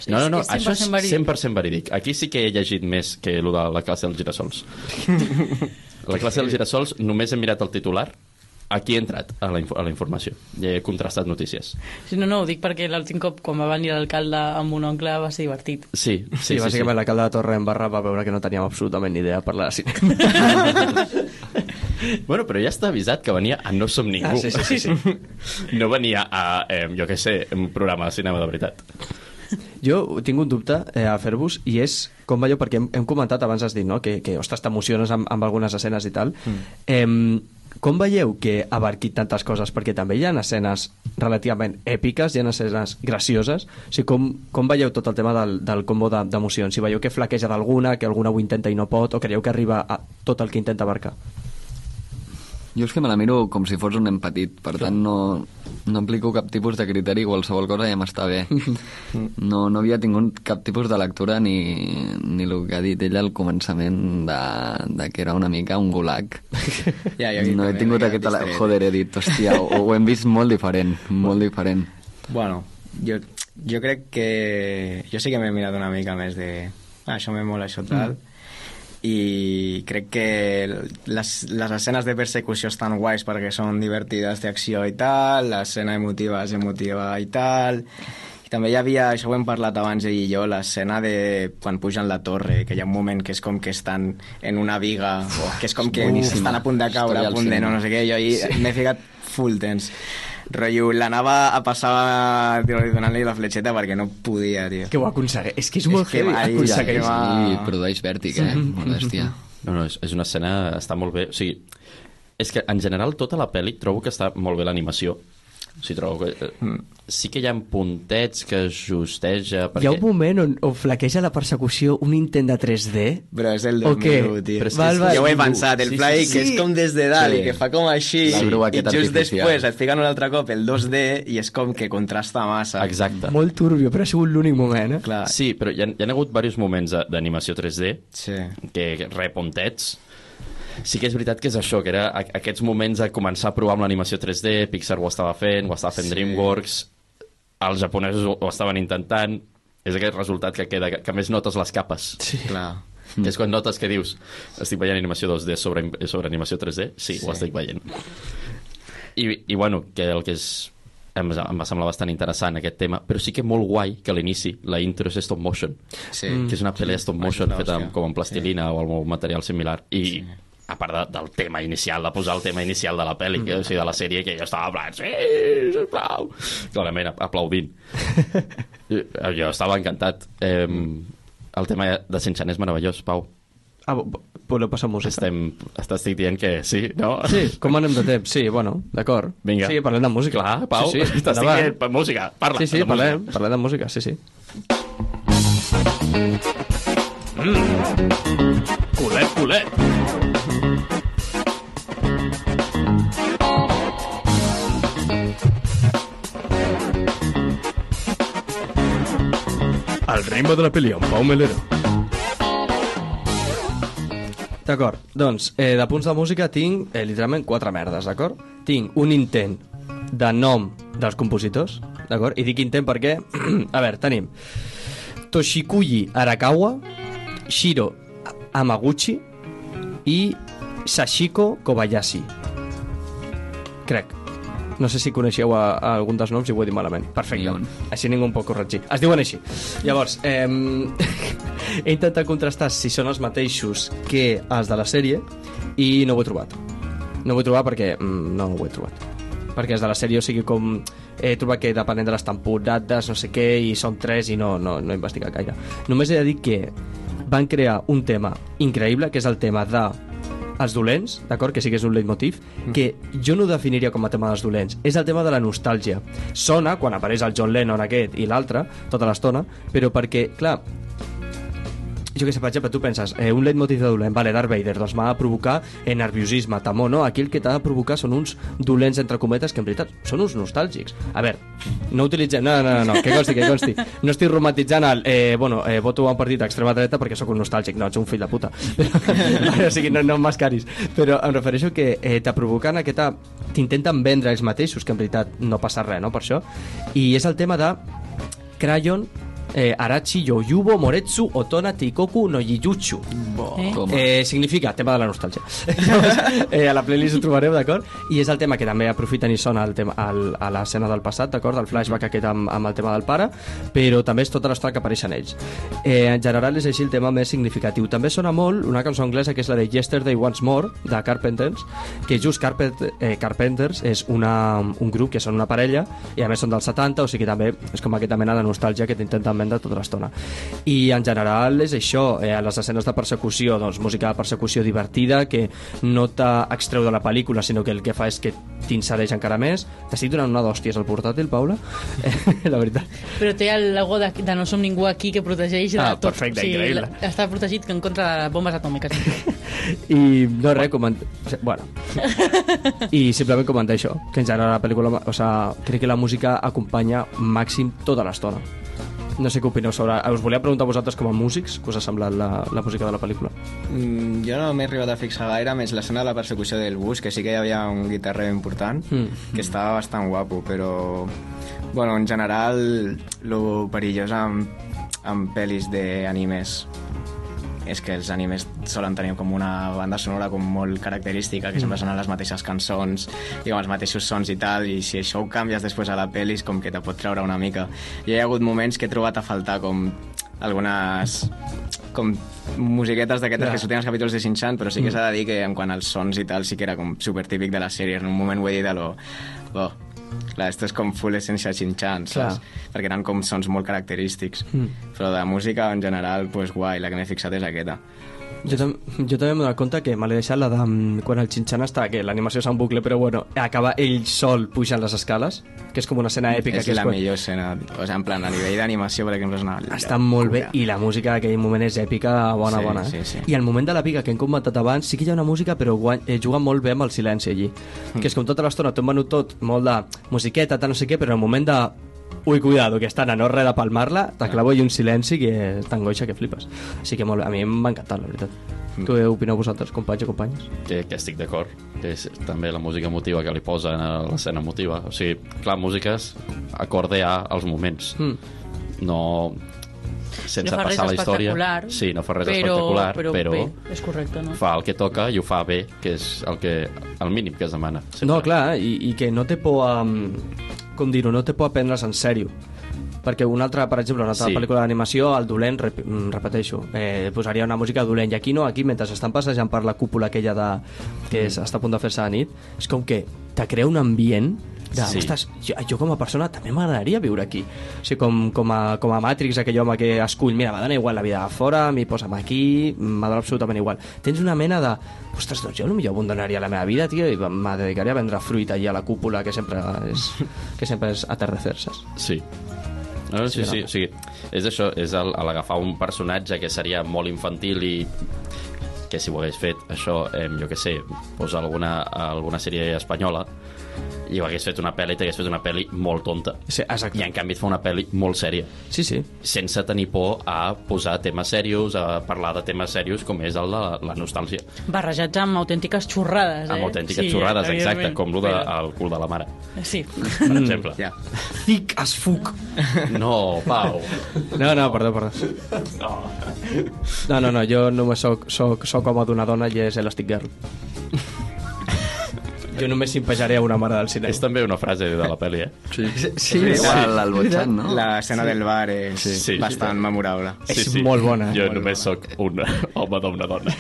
Speaker 1: No, no, no,
Speaker 2: és
Speaker 1: això és
Speaker 2: 100% verí.
Speaker 1: 100% verídic. Aquí sí que he llegit més que el de la classe dels girassols. la classe dels girassols només he mirat el titular, aquí he entrat a la, inf a la informació i he contrastat notícies.
Speaker 2: Sí, No, no, ho dic perquè l'últim cop quan va venir l'alcalde amb un oncle va ser divertit.
Speaker 1: Sí,
Speaker 3: Sí,
Speaker 1: sí, sí. sí,
Speaker 3: bàsicament la calda de Torre en Barra va veure que no teníem absolutament ni idea per la cinema.
Speaker 1: Bueno, però ja està avisat que venia a No som ningú.
Speaker 3: Ah, sí, sí, sí, sí.
Speaker 1: No venia a, eh, jo què sé, un programa de cinema de veritat.
Speaker 3: Jo tinc un dubte eh, a fer-vos i és com va allò, perquè hem, hem comentat abans has dit, no?, que, que ostres, t'emociones amb, amb algunes escenes i tal. Mm. Eh, com veieu que abarqui tantes coses? Perquè també hi ha escenes relativament èpiques, hi ha escenes gracioses. O sigui, com, com veieu tot el tema del, del combo de- d'emocions? si veieu que flaqueja d'alguna, que alguna ho intenta i no pot, o creieu que arriba a tot el que intenta abarcar?
Speaker 4: Jo és que me la miro com si fos un nen petit, per tant no, no aplico cap tipus de criteri, qualsevol cosa ja m'està bé. No, no havia tingut cap tipus de lectura ni, ni el que ha dit ella al començament de, de que era una mica un gulag.
Speaker 6: Ja, jo aquí
Speaker 4: no he
Speaker 6: també
Speaker 4: tingut
Speaker 6: m'he
Speaker 4: aquest...
Speaker 6: quedat
Speaker 4: ala-
Speaker 6: distret.
Speaker 4: Joder, he dit, hòstia, ho, ho hem vist molt diferent, molt diferent.
Speaker 6: Bueno, jo, jo crec que... Jo sí que m'he mirat una mica més de... Ah, això m'he molt, això tal... Mm. I crec que les, les escenes de persecució estan guais perquè són divertides d'acció i tal, l'escena emotiva és emotiva i tal... I també hi havia, això ho hem parlat abans ell i jo, l'escena de quan pugen la torre, que hi ha un moment que és com que estan en una viga, o que és com que
Speaker 4: Boníssima.
Speaker 6: estan a punt de caure,
Speaker 4: Història
Speaker 6: a
Speaker 4: al
Speaker 6: punt de no,
Speaker 4: cinema.
Speaker 6: no sé què, jo ahir sí. m'he ficat full tens. Rotllo, l'anava a passar tio, donant-li la fletxeta perquè no podia, tio.
Speaker 3: ho aconsegueix. És que és
Speaker 6: molt heavy, aconsegueix.
Speaker 4: I
Speaker 6: Ah.
Speaker 4: produeix vèrtic, eh? Molèstia.
Speaker 1: No, no, és, és una escena... Està molt bé. O sigui, és que en general tota la pel·li trobo que està molt bé l'animació. O sigui, trobo que... Mm. Sí que hi ha puntets que justeja... Perquè...
Speaker 3: Hi ha un moment on, on flaqueja la persecució un intent de 3D
Speaker 6: Però és del
Speaker 3: O què?
Speaker 6: 2001, tio.
Speaker 3: Però és que Val, és val.
Speaker 6: Jo ho he
Speaker 3: ningú.
Speaker 6: pensat, el
Speaker 1: Sí,
Speaker 6: sí, Fly,
Speaker 1: sí,
Speaker 3: sí.
Speaker 6: que és com des de dalt
Speaker 4: Sí.
Speaker 6: i que fa com així,
Speaker 4: La grua
Speaker 6: i
Speaker 4: aquesta
Speaker 6: just
Speaker 4: artificial.
Speaker 6: després et fiquen un altre cop el 2D i és com que contrasta massa.
Speaker 1: Exacte.
Speaker 3: molt turbio, però ha sigut l'únic moment, eh?
Speaker 6: Clar.
Speaker 1: Ah, Sí, però hi ha, hi ha hagut diversos moments de- d'animació 3D
Speaker 6: Sí.
Speaker 1: que que repuntets Sí que és veritat que és això, que era a- aquests moments de començar a provar amb l'animació 3D, Pixar ho estava fent, ho estava fent sí. DreamWorks, els japonesos ho, ho estaven intentant, és aquest resultat que queda, que, que més notes les capes.
Speaker 6: sí. Clar.
Speaker 1: Mm. Que és quan notes que dius, estic veient animació 2D sobre, sobre animació 3D? Sí, sí. ho estic veient. I, I, bueno, que el que és... Em, em va semblar bastant interessant aquest tema, però sí que molt guai que a l'inici la intro és stop motion,
Speaker 6: Sí.
Speaker 1: que és una pel·li stop motion
Speaker 6: Hòstia.
Speaker 1: feta amb, com amb plastilina sí. o amb un material similar, i sí. a part de, del tema inicial, de posar el tema inicial de la pel·li,
Speaker 3: Mm.
Speaker 1: que, o sigui, de la sèrie, que jo estava en plan, sí, sisplau, clarament ap- aplaudint. jo, jo estava encantat. Eh, el tema de Sinchan és meravellós, Pau.
Speaker 3: Ah, vo- vo- voleu passar música?
Speaker 1: Estem, estàs dient que sí, no?
Speaker 3: Sí, com anem de temps? Sí, bueno, d'acord.
Speaker 1: Vinga.
Speaker 3: Sí, parlem de música.
Speaker 1: Clar, Pau,
Speaker 3: Ah, sí, sí,
Speaker 1: t'estic
Speaker 3: endavant.
Speaker 1: dient pa- música, parla.
Speaker 3: Sí, sí,
Speaker 1: de música.
Speaker 3: parlem, parlem de música, sí, sí. Mm. Culet, culet. Al ritme de la peli, amb Pau Melero. D'acord, doncs, eh, de punts de música tinc eh, literalment quatre merdes, d'acord? Tinc un intent de nom dels compositors, d'acord? I dic intent perquè, a veure, tenim Toshikuyi Arakawa, Shiro Amaguchi i Sashiko Kobayashi. Crec. No sé si coneixeu a, a algun dels noms i ho he dit malament.
Speaker 4: Ni
Speaker 3: Perfecte.
Speaker 4: un.
Speaker 3: Així ningú em pot corregir. Es diuen així. Llavors, eh, he intentat contrastar si són els mateixos que els de la sèrie i no ho he trobat. No ho he trobat perquè mm, no ho he trobat. Perquè els de la sèrie, o sigui, com he trobat que depenent de les temporades, no sé què, i són tres i no, no, no he investigat gaire. Només he de dir que van crear un tema increïble, que és el tema de els dolents, d'acord? Que sí que és un leitmotiv, que jo no ho definiria com a tema dels dolents. És el tema de la nostàlgia. Sona, quan apareix el John Lennon aquest i l'altre, tota l'estona, però perquè, clar, jo que sé, per exemple, tu penses, eh, un leitmotiv de dolent, vale, Darth Vader, doncs m'ha de provocar eh, nerviosisme, temor, no? Aquí el que t'ha de provocar són uns dolents, entre cometes, que en veritat són uns nostàlgics. A veure, no utilitzem... No, no, no, no que consti, que consti. No estic romantitzant el... Eh, bueno, eh, voto a un partit d'extrema dreta perquè sóc un nostàlgic. No, ets un fill de puta. Però, o sigui, no, no em mascaris. Però em refereixo que eh, te provoquen aquesta... T'intenten vendre ells mateixos, que en veritat no passa res, no?, per això. I és el tema de Crayon, eh, Arachi, Yoyubo, Moretsu, Otona, Teikoku, no Yiyuchu.
Speaker 1: Oh.
Speaker 2: Eh?
Speaker 4: Com?
Speaker 3: Eh, significa tema de la nostàlgia. Llavors, eh, a la playlist ho trobareu, d'acord? I és el tema que també aprofiten i sona el tema, el, a l'escena del passat, d'acord? Del flashback aquest amb, amb el tema del pare, però també és tota l'estona que apareixen ells. Eh, en general és així el tema més significatiu. També sona molt una cançó anglesa que és la de Yesterday Once More, de Carpenters, que just Carpet, eh, Carpenters és una, un grup que són una parella i a més són dels 70, o sigui també és com aquesta mena de nostàlgia que t'intenten totalment de tota l'estona. I en general és això, eh, les escenes de persecució, doncs música de persecució divertida que no t'extreu de la pel·lícula, sinó que el que fa és que t'insereix encara més. T'estic donant una d'hòsties al portàtil, Paula? Eh, la veritat.
Speaker 2: Però té el logo de, de No som ningú aquí que protegeix de
Speaker 3: Ah,
Speaker 2: tot.
Speaker 3: perfecte,
Speaker 2: o sigui,
Speaker 3: increïble.
Speaker 2: la- Està protegit que en contra de bombes atòmiques.
Speaker 3: I no res, coment... o sigui, bueno. I simplement comentar això, que en general la pel·lícula, o sigui, crec que la música acompanya màxim tota l'estona. No sé què opineu sobre... Us volia preguntar a vosaltres com a músics què us ha semblat la, la música de la pel·lícula.
Speaker 6: Mm, jo no m'he arribat a fixar gaire, més l'escena de la persecució del bus, que sí que hi havia un guitarrer important,
Speaker 3: Mm.
Speaker 6: mm. que estava bastant guapo, però... Bueno, en general, lo perillós amb, amb pel·lis d'animes és que els animes solen tenir com una banda sonora com molt característica, que sempre sonen les mateixes cançons i amb els mateixos sons i tal, i si això ho canvies després a la pel·li és com que te pot treure una mica. I hi ha hagut moments que he trobat a faltar com algunes com musiquetes d'aquestes
Speaker 3: Ja.
Speaker 6: que sortien als capítols de Shin-Chan, però sí que s'ha de dir que en quant als sons i tal sí que era com supertípic de la sèrie. En un moment ho he dit a lo... Oh, clar, esto és com full essència Shin-Chan, saps?
Speaker 3: Clar.
Speaker 6: perquè eren com sons molt característics. Mm. Però de música, en general, pues, guai, la que m'he fixat és aquesta.
Speaker 3: Jo, tam jo també m'he donat compte que me l'he deixat la de mm, quan el xinxan està, que l'animació és en bucle, però bueno, acaba ell sol pujant les escales, que és com una escena èpica.
Speaker 6: és
Speaker 3: que
Speaker 6: la
Speaker 3: quan-
Speaker 6: millor escena. O sigui, en plan, a nivell d'animació, per exemple, és una...
Speaker 3: Està molt bé, i la música d'aquell moment és èpica, bona,
Speaker 6: Sí,
Speaker 3: bona. Eh?
Speaker 6: sí, sí.
Speaker 3: I el moment de la pica que hem comentat abans, sí que hi ha una música, però guany, eh, juga molt bé amb el silenci allí.
Speaker 6: Hm.
Speaker 3: Mm. Que és com tota l'estona t'ho hem venut tot, molt de musiqueta, tal, no sé què, però en el moment de... Ui, cuidado, que estan a no res de palmar-la, t'aclavo i un silenci que t'angoixa que flipes. Així que molt bé, a mi m'ha encantat, la veritat.
Speaker 6: Hm.
Speaker 3: Mm. Què opineu vosaltres, companys i companyes?
Speaker 1: que, que estic d'acord que és també la música emotiva que li posa a l'escena emotiva o sigui, clar, músiques acordear els moments mm. no sense
Speaker 2: no fa res
Speaker 1: passar la història
Speaker 2: espectacular.
Speaker 1: sí, no fa res
Speaker 2: però,
Speaker 1: espectacular
Speaker 2: però,
Speaker 1: però, però
Speaker 2: Bé, és correcte, no?
Speaker 1: fa el que toca i ho fa bé que és el, que, el mínim que es demana sempre.
Speaker 3: No, clar, i, i que no té por a... mm, Com dir-ho, no té por a prendre's en sèrio. Perquè una altra, per exemple, una altra
Speaker 1: Sí.
Speaker 3: sí. pel·lícula d'animació, el dolent, rep, mm, repeteixo, eh, posaria una música dolent. I aquí no, aquí mentre estan passejant per la cúpula aquella de, que és, està a punt de fer-se de nit, és com que te crea un ambient de,
Speaker 1: Sí.
Speaker 3: sí. ostres, jo, jo com a persona també m'agradaria viure aquí. O sigui, com, com, a, com a Matrix, aquell home que escull, mira, m'ha d'anar igual la vida de fora, m'hi posa'm aquí, m'ha d'anar absolutament igual. Tens una mena de, ostres, doncs jo potser abandonaria la meva vida, tio, i me dedicaria a vendre fruita allà a la cúpula, que sempre és, que sempre és atardecer saps?
Speaker 1: Sí. No, sí,
Speaker 3: Sí,
Speaker 1: sí,
Speaker 3: no?
Speaker 1: sí. És això, és el- el agafar un personatge que seria molt infantil i que si ho hagués fet això, eh, jo que sé, pues alguna, alguna sèrie espanyola i ho hagués fet una pel·li, t'hagués fet una pel·li molt tonta.
Speaker 3: Sí, exacte.
Speaker 1: I en canvi et fa una pel·li molt sèria,
Speaker 3: Sí, sí.
Speaker 1: sense tenir por a posar temes serios, a parlar de temes serios com és el de la, la nostàlgia,
Speaker 2: Barrejats amb autèntiques xorrades, eh?
Speaker 1: amb autèntiques xorrades, exacte,
Speaker 2: evidentment.
Speaker 1: com el de,
Speaker 2: Però- eh,
Speaker 1: el cul de la mare,
Speaker 2: Sí.
Speaker 1: per exemple.
Speaker 6: Ja.
Speaker 3: Thick as fuck.
Speaker 1: No, Pau,
Speaker 3: No, no, perdó, perdó. No, no, no, jo només soc, soc, soc home d'una dona i és Elastic Girl. Jo només simpejaré a una mare del cinema.
Speaker 1: és també una frase de la pel·li, eh?
Speaker 4: Sí, sí,
Speaker 3: Sí,
Speaker 4: és igual
Speaker 3: sí.
Speaker 4: al Botxan, no?
Speaker 6: L'escena sí. del bar és
Speaker 1: Sí. Sí.
Speaker 6: sí. bastant sí. memorable.
Speaker 3: És molt bona, eh?
Speaker 1: Jo
Speaker 3: Molt
Speaker 1: només sóc un home d'una dona.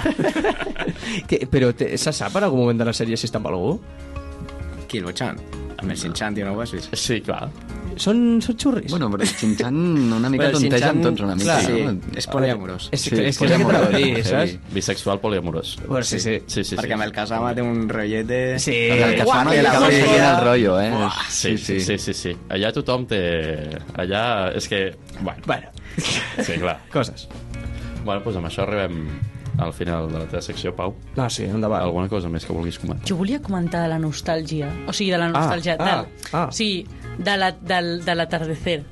Speaker 3: Que, però te, se sap en algun moment de la sèrie si està amb algú?
Speaker 6: Qui, el Botxan? Amb el Shin-Chan, tio, no ho has vist?
Speaker 1: Sí, clar.
Speaker 3: Són, són xurris?
Speaker 4: Bueno, però el Xinxan una mica
Speaker 3: Però el
Speaker 4: tontegen
Speaker 3: Shin-chan,
Speaker 4: tots una mica,
Speaker 3: clar.
Speaker 6: Sí,
Speaker 4: no?
Speaker 6: és poliamorós.
Speaker 3: és,
Speaker 4: sí,
Speaker 3: que- és que és el que t'anava a dir,
Speaker 4: sí.
Speaker 3: saps?
Speaker 1: Bisexual poliamorós.
Speaker 3: Bueno, sí, sí.
Speaker 1: Sí, sí,
Speaker 6: Perquè
Speaker 1: sí.
Speaker 6: amb el Kasama té un rotllete...
Speaker 3: Sí.
Speaker 1: Eh,
Speaker 4: El que
Speaker 3: Uah,
Speaker 4: fa no
Speaker 3: que
Speaker 4: hi
Speaker 3: la
Speaker 4: acaba
Speaker 3: sòcia-
Speaker 4: dient el rotllo, eh?
Speaker 1: Sí, sí, sí, sí, sí. Allà tothom té... Allà és que... Bueno,
Speaker 3: Bueno,
Speaker 1: sí, clar.
Speaker 3: coses.
Speaker 1: Bueno, doncs amb això arribem al final de la teva secció, Pau.
Speaker 3: No, sí, endavant.
Speaker 1: Alguna cosa més que vulguis comentar?
Speaker 2: Jo volia comentar de la nostàlgia. O sigui, de la nostàlgia.
Speaker 3: ah,
Speaker 2: de,
Speaker 3: ah.
Speaker 2: Sí, de la- del- de l'atardecer.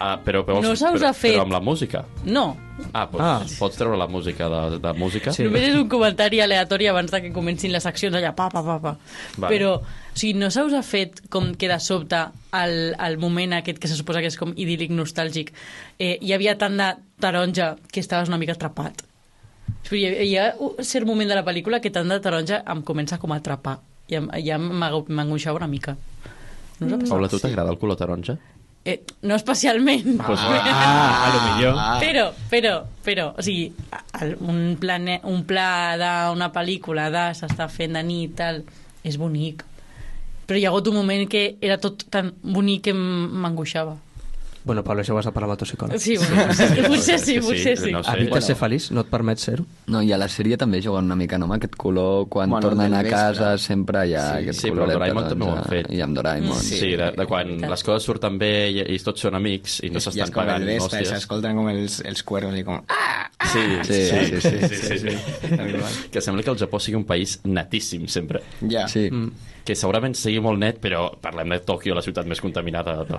Speaker 1: Ah, però, però,
Speaker 2: No se us
Speaker 1: però,
Speaker 2: ha fet-
Speaker 1: però amb la música.
Speaker 2: No,
Speaker 1: Ah, doncs,
Speaker 3: Ah.
Speaker 1: ah. pots treure la música de, de música?
Speaker 3: Sí.
Speaker 2: Només és un comentari aleatori abans de que comencin les accions allà, pa, pa, pa, pa.
Speaker 1: Vale.
Speaker 2: Vale. Però, o sigui, no se us ha fet com que de sobte el, el moment aquest que se suposa que és com idíl·lic nostàlgic, eh, hi havia tant de taronja que estaves una mica atrapat. O sigui, hi, hi ha un cert moment de la pel·lícula que tant de taronja em comença com a atrapar. I em, ja m'ago- m'angoixava una mica. No us ha passat?
Speaker 1: Paula, a tu t'agrada el color taronja?
Speaker 2: Eh, no especialment.
Speaker 1: Pues,
Speaker 3: Ah, a lo millor.
Speaker 2: Però, però, però, o sigui, el, un, plane, un pla d'una pel·lícula de s'està fent de nit, tal, és bonic. Però hi ha hagut un moment que era tot tan bonic que m- m'angoixava.
Speaker 3: Bueno, Pablo, això ho has de parlar amb el teu psicòleg.
Speaker 2: Sí, bueno, sí, potser sí,
Speaker 1: Sí,
Speaker 2: potser sí.
Speaker 1: no sé.
Speaker 3: Evitar
Speaker 1: Bueno.
Speaker 3: ser feliç no et permet ser-ho.
Speaker 4: No, i a la sèrie també juguen una mica, no, amb aquest color, quan
Speaker 6: Bueno,
Speaker 4: bueno, tornen a
Speaker 6: del
Speaker 4: casa
Speaker 6: vespre.
Speaker 4: sempre hi ha
Speaker 1: Sí,
Speaker 4: aquest
Speaker 1: sí, però
Speaker 4: coloret
Speaker 1: amb Doraemon
Speaker 4: taronja.
Speaker 1: també ho han fet.
Speaker 4: eh, I amb Doraemon.
Speaker 1: Sí, de, de quan les coses surten bé i, i tots són amics i no
Speaker 6: I és
Speaker 1: s'estan
Speaker 6: com
Speaker 1: pagant
Speaker 6: el vespre,
Speaker 1: hòsties.
Speaker 6: s'escolten com els, els cuervos i com... Ah!
Speaker 1: Sí, sí, sí, sí, sí, sí, sí, sí,
Speaker 6: Arriba.
Speaker 1: sí. Que sembla que el Japó sigui un país netíssim, sempre.
Speaker 6: Ja.
Speaker 4: Sí, mm.
Speaker 1: Que segurament sigui molt net, però parlem de Tòquio, la ciutat més contaminada de,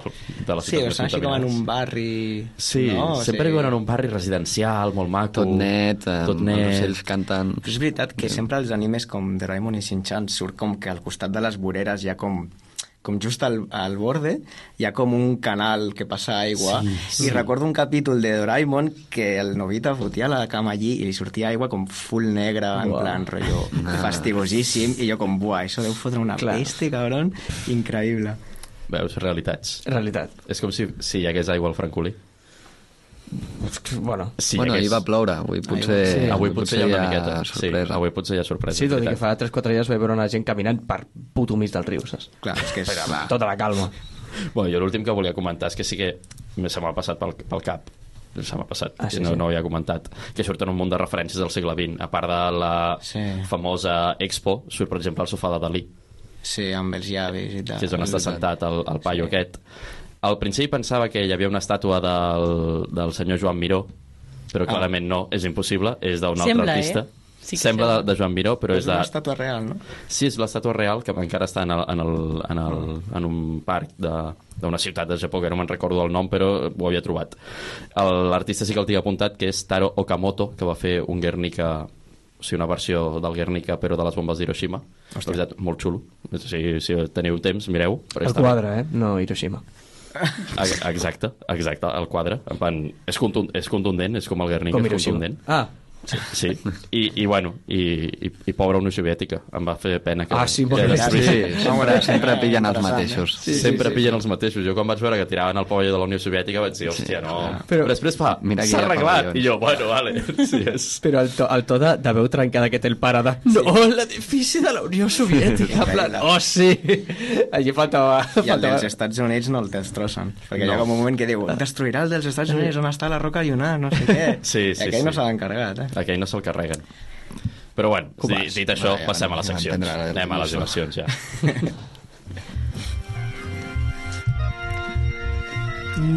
Speaker 1: de les ciutats
Speaker 6: Sí, o
Speaker 1: més
Speaker 6: sigui, així com en
Speaker 1: contaminades.
Speaker 6: un barri...
Speaker 1: Sí,
Speaker 6: no?
Speaker 1: no, sempre sí. viuen en un barri residencial, molt maco.
Speaker 4: tot net, eh,
Speaker 1: Uh, tot
Speaker 4: els
Speaker 1: net.
Speaker 4: ocells canten...
Speaker 6: Però és veritat que sempre els animes com Doraemon i Shin-Chan surt com que al costat de les voreres hi ha com com just al, al borde, hi ha com un canal que passa aigua, sí, sí. i recordo un capítol de Doraemon que el Novita fotia la cama allí i li sortia aigua com full negra, en
Speaker 3: Uau.
Speaker 6: plan rotllo
Speaker 4: Ah.
Speaker 6: fastigosíssim, i jo com, buah, això deu fotre una
Speaker 3: Clar.
Speaker 6: peste, cabron, increïble.
Speaker 1: Veus, realitats.
Speaker 3: En realitat.
Speaker 1: És com si, si hi hagués aigua al Francolí.
Speaker 3: Bueno,
Speaker 1: Si
Speaker 4: bueno,
Speaker 1: hi hagués...
Speaker 4: ahir va ploure, avui potser...
Speaker 3: sí.
Speaker 1: Eh, avui potser hi ha una miqueta.
Speaker 4: Sorpresa.
Speaker 1: Sí, avui potser hi ha sorpresa.
Speaker 3: sí, tot i
Speaker 1: veritat.
Speaker 3: que fa 3-4 dies vaig veure una gent caminant per puto mig del riu, saps?
Speaker 6: Clar, és que és...
Speaker 3: Amb Tota la calma.
Speaker 1: Bueno, jo l'últim que volia comentar és que sí que me- se m'ha passat pel, pel cap se m'ha passat,
Speaker 3: Ah,
Speaker 1: ah,
Speaker 3: sí,
Speaker 1: sí, no,
Speaker 3: sí.
Speaker 1: no ho havia comentat que surten un munt de referències del segle XX a part de la sí.
Speaker 6: Sí.
Speaker 1: famosa Expo surt per exemple el sofà de Dalí
Speaker 6: Sí, amb els llavis i tal.
Speaker 1: que és on està sentat el, el paio sí. aquest al principi pensava que hi havia una estàtua del, del senyor Joan Miró però
Speaker 6: Ah.
Speaker 1: clarament no, és impossible és d'un altre
Speaker 2: Sembla, eh?
Speaker 1: artista
Speaker 2: Sí que
Speaker 1: sembla de,
Speaker 2: sembla.
Speaker 1: de Joan Miró però és,
Speaker 6: És una
Speaker 1: de,
Speaker 6: estàtua real, no?
Speaker 1: Sí, és l'estàtua real que encara està en, el, en, el, en, el, en un parc de- d'una ciutat de Japó, que no me'n recordo el nom, però ho havia trobat. El- L'artista sí que el tinc apuntat, que és Taro Okamoto, que va fer un Guernica o sigui, una versió del Guernica, però de les bombes d'Hiroshima. La veritat, molt xulo. O sigui, si teniu temps, mireu. perquè
Speaker 3: El
Speaker 1: està-
Speaker 3: quadre, eh? No Hiroshima.
Speaker 1: Ex- Exacte, exacte, el quadre. En plan, és, contundent, és contundent, és com el Guernica,
Speaker 3: Com
Speaker 1: és
Speaker 3: Hiroshima.
Speaker 1: contundent.
Speaker 3: Ah,
Speaker 1: Sí, I, i bueno, i, i, i pobra Unió Soviètica. Em va fer pena que...
Speaker 3: Ah, sí,
Speaker 1: que
Speaker 3: bueno,
Speaker 1: destruïssin.
Speaker 4: Sí, sempre,
Speaker 6: Home,
Speaker 4: sempre
Speaker 6: eh,
Speaker 4: pillen els
Speaker 6: interessant,
Speaker 4: mateixos.
Speaker 1: Sí, sempre sí, pillen els mateixos. Jo quan vaig veure que tiraven el pavelló de la Unió Soviètica vaig dir, hòstia, no.
Speaker 3: Però-
Speaker 1: Però després fa,
Speaker 4: Mira que
Speaker 1: s'ha
Speaker 4: hi ha
Speaker 1: arreglat.
Speaker 4: pavellons.
Speaker 1: I jo, bueno, vale. Sí, és...
Speaker 3: però el to, el to de, de veu trencada que té el pare de... No, l'edifici de la Unió Soviètica. En plan, oh, sí. Allí faltava...
Speaker 6: I el dels
Speaker 3: faltava...
Speaker 6: Estats Units no el destrossen, perquè
Speaker 1: No.
Speaker 6: hi ha com un moment que diu
Speaker 4: Ah.
Speaker 6: destruirà el dels
Speaker 4: Eh.
Speaker 6: Estats Units, on està la roca Ionar, no sé què.
Speaker 1: Sí, sí,
Speaker 6: I aquell no
Speaker 1: sí.
Speaker 6: se l'ha encarregat, eh?
Speaker 1: Aquell no se'l carreguen. Però bueno, dit, dit això,
Speaker 4: Vale,
Speaker 1: passem a les
Speaker 4: ja
Speaker 1: seccions.
Speaker 4: entendrà la
Speaker 1: Anem a les
Speaker 4: il·lusió.
Speaker 1: emocions, ja.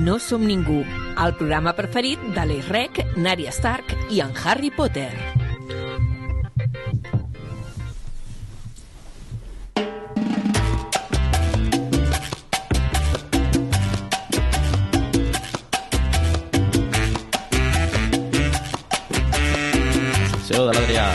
Speaker 5: No som ningú, el programa preferit d'Alex Rec, Nària Stark i en Harry Potter.
Speaker 1: Seu de l'Adrià.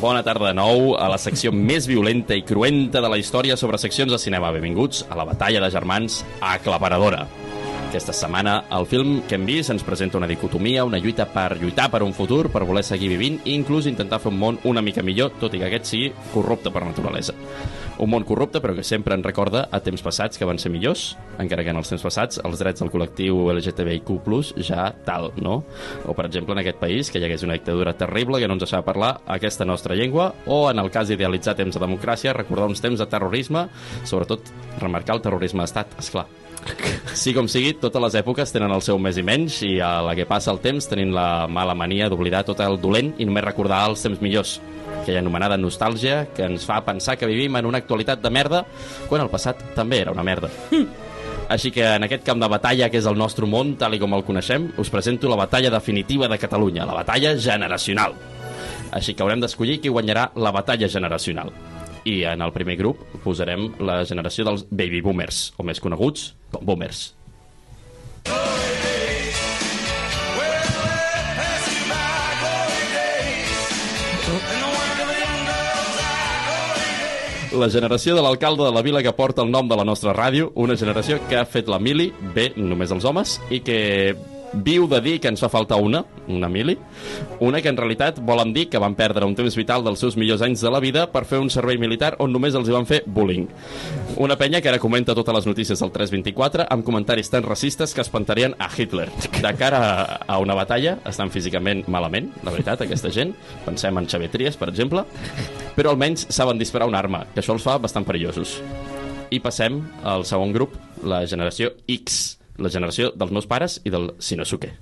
Speaker 1: Bona tarda de nou a la secció més violenta i cruenta de la història sobre seccions de cinema. Benvinguts a la batalla de germans aclaparadora. Aquesta setmana, el film que hem vist ens presenta una dicotomia, una lluita per lluitar per un futur, per voler seguir vivint i inclús intentar fer un món una mica millor, tot i que aquest sigui corrupte per naturalesa. Un món corrupte, però que sempre ens recorda a temps passats que van ser millors, encara que en els temps passats els drets del col·lectiu LGTBIQ+, ja tal, no? O, per exemple, en aquest país, que hi hagués una dictadura terrible que no ens deixava parlar aquesta nostra llengua, o, en el cas d'idealitzar temps de democràcia, recordar uns temps de terrorisme, sobretot remarcar el terrorisme d'estat, és clar. Sí com sigui, totes les èpoques tenen el seu més i menys i a la que passa el temps tenim la mala mania d'oblidar tot el dolent i només recordar els temps millors aquella anomenada nostàlgia que ens fa pensar que vivim en una actualitat de merda quan el passat també era una merda. Així que en aquest camp de batalla que és el nostre món, tal i com el coneixem, us presento la batalla definitiva de Catalunya, la batalla generacional. Així que haurem d'escollir qui guanyarà la batalla generacional. I en el primer grup posarem la generació dels baby boomers, o més coneguts com boomers. La generació de l'alcalde de la vila que porta el nom de la nostra ràdio, una generació que ha fet la mili, bé, només els homes, i que viu de dir que ens fa falta una, una mili, una que en realitat volen dir que van perdre un temps vital dels seus millors anys de la vida per fer un servei militar on només els hi van fer bullying. Una penya que ara comenta totes les notícies del 324 amb comentaris tan racistes que espantarien a Hitler. De cara a, a una batalla estan físicament malament, la veritat, aquesta gent. Pensem en Xavier Trias, per exemple. Però almenys saben disparar una arma, que això els fa bastant perillosos. I passem al segon grup, la generació X, la generació dels meus pares i del Shinosuke.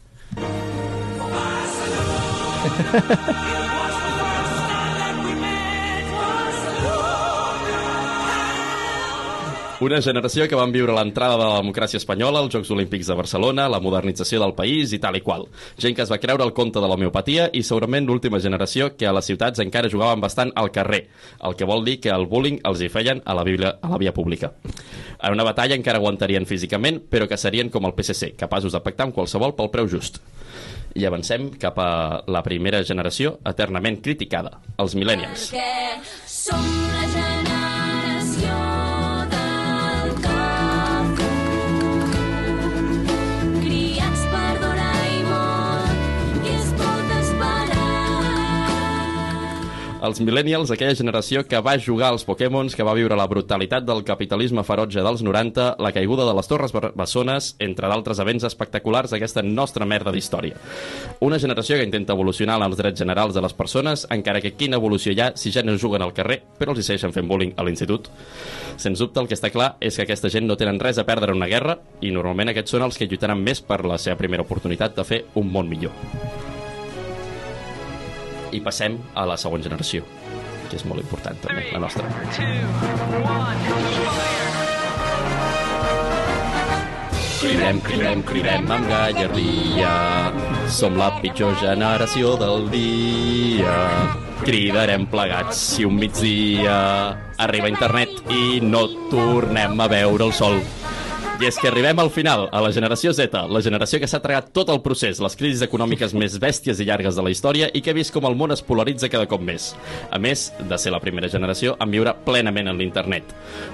Speaker 1: Una generació que van viure l'entrada de la democràcia espanyola, els Jocs Olímpics de Barcelona, la modernització del país i tal i qual. Gent que es va creure el conte de l'homeopatia i segurament l'última generació que a les ciutats encara jugaven bastant al carrer, el que vol dir que el bullying els hi feien a la, via, a la via pública. En una batalla encara aguantarien físicament, però que serien com el PSC, capaços de pactar amb qualsevol pel preu just. I avancem cap a la primera generació eternament criticada, els millennials.
Speaker 7: Perquè som la generació del cap. Criats per Doraemon, què es pot esperar?
Speaker 1: Els millennials, aquella generació que va jugar als Pokémons, que va viure la brutalitat del capitalisme ferotge dels 90, la caiguda de les Torres Bar- Bessones, entre d'altres events espectaculars d'aquesta nostra merda d'història. Una generació que intenta evolucionar en els drets generals de les persones, encara que quina evolució hi ha si ja no juguen al carrer, però els hi segueixen fent bullying a l'institut. Sens dubte, el que està clar és que aquesta gent no tenen res a perdre en una guerra i normalment aquests són els que lluitaran més per la seva primera oportunitat de fer un món millor. I passem a la segona generació, que és molt important també, la nostra. Cridem, cridem, cridem amb gallardia. Som la pitjor generació del dia. eh, Cridarem plegats si un migdia arriba internet i no tornem a veure el sol. I és que arribem al final, a la generació Z, la generació que s'ha tragat tot el procés, les crisis econòmiques més bèsties i llargues de la història i que ha vist com el món es polaritza cada cop més. A més de ser la primera generació en viure plenament en l'internet.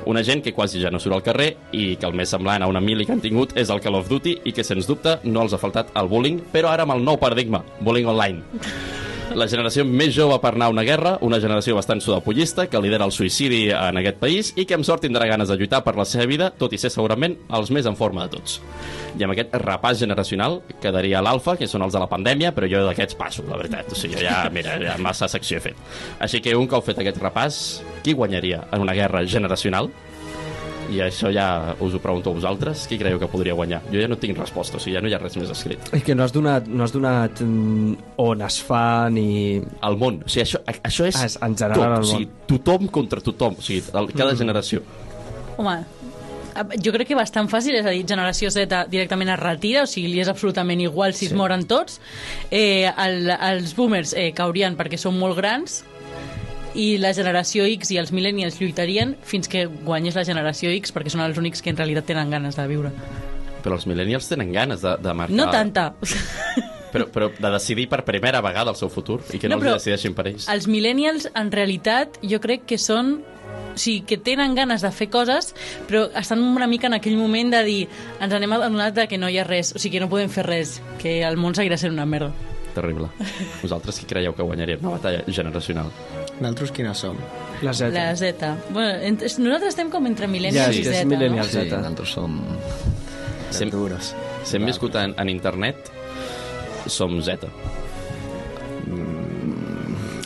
Speaker 1: Una gent que quasi ja no surt al carrer i que el més semblant a una mili que han tingut és el Call of Duty i que, sens dubte, no els ha faltat el bullying, però ara amb el nou paradigma, bullying online. La generació més jove per anar a una guerra, una generació bastant sudapollista que lidera el suïcidi en aquest país i que amb sort tindrà ganes de lluitar per la seva vida, tot i ser segurament els més en forma de tots. I amb aquest repàs generacional quedaria l'alfa, que són els de la pandèmia, però jo d'aquests passo, la veritat. O sigui, ja, mira, ja massa secció he fet. Així que un cop fet aquest repàs, qui guanyaria en una guerra generacional? I això ja us ho pregunto a vosaltres. Qui creieu que podria guanyar? Jo ja no tinc resposta, o sigui, ja no hi ha res més escrit.
Speaker 3: És que no has donat, no has donat mm, on es fa ni...
Speaker 1: al món. O sigui, això, a- això és
Speaker 3: Ah, és en
Speaker 1: tot.
Speaker 3: general
Speaker 1: O
Speaker 3: el
Speaker 1: sigui,
Speaker 3: món. Mm.
Speaker 1: tothom contra tothom. O sigui, el, cada generació.
Speaker 2: Home, a- jo crec que bastant fàcil, és a dir, Generació Z directament es retira, o sigui, li és absolutament igual si sí. es moren tots. Eh, el, els boomers eh, caurien perquè són molt grans, i la generació X i els millennials lluitarien fins que guanyés la generació X perquè són els únics que en realitat tenen ganes de viure.
Speaker 1: Però els millennials tenen ganes de, de marcar...
Speaker 2: No tanta.
Speaker 1: Però, però de decidir per primera vegada el seu futur i que no,
Speaker 2: No,
Speaker 1: els
Speaker 2: però-
Speaker 1: hi decideixin per ells. El...
Speaker 2: Els millennials, en realitat, jo crec que són... O sigui, que tenen ganes de fer coses, però estan una mica en aquell moment de dir ens anem adonant de que no hi ha res, o sigui, que no podem fer res, que el món seguirà sent una merda.
Speaker 1: Terrible. Vosaltres qui creieu que guanyaria una batalla generacional?
Speaker 6: Nosaltres quines som?
Speaker 3: La Z.
Speaker 2: La Z. Bueno, ent- nosaltres estem com entre millennials
Speaker 3: Ja,
Speaker 2: i
Speaker 3: sí,
Speaker 2: Z,
Speaker 3: és
Speaker 2: no?
Speaker 3: millennial.
Speaker 4: Sí,
Speaker 3: Zeta.
Speaker 4: nosaltres som...
Speaker 1: Sem,
Speaker 6: Duros.
Speaker 1: si hem viscut en, en internet, som Z.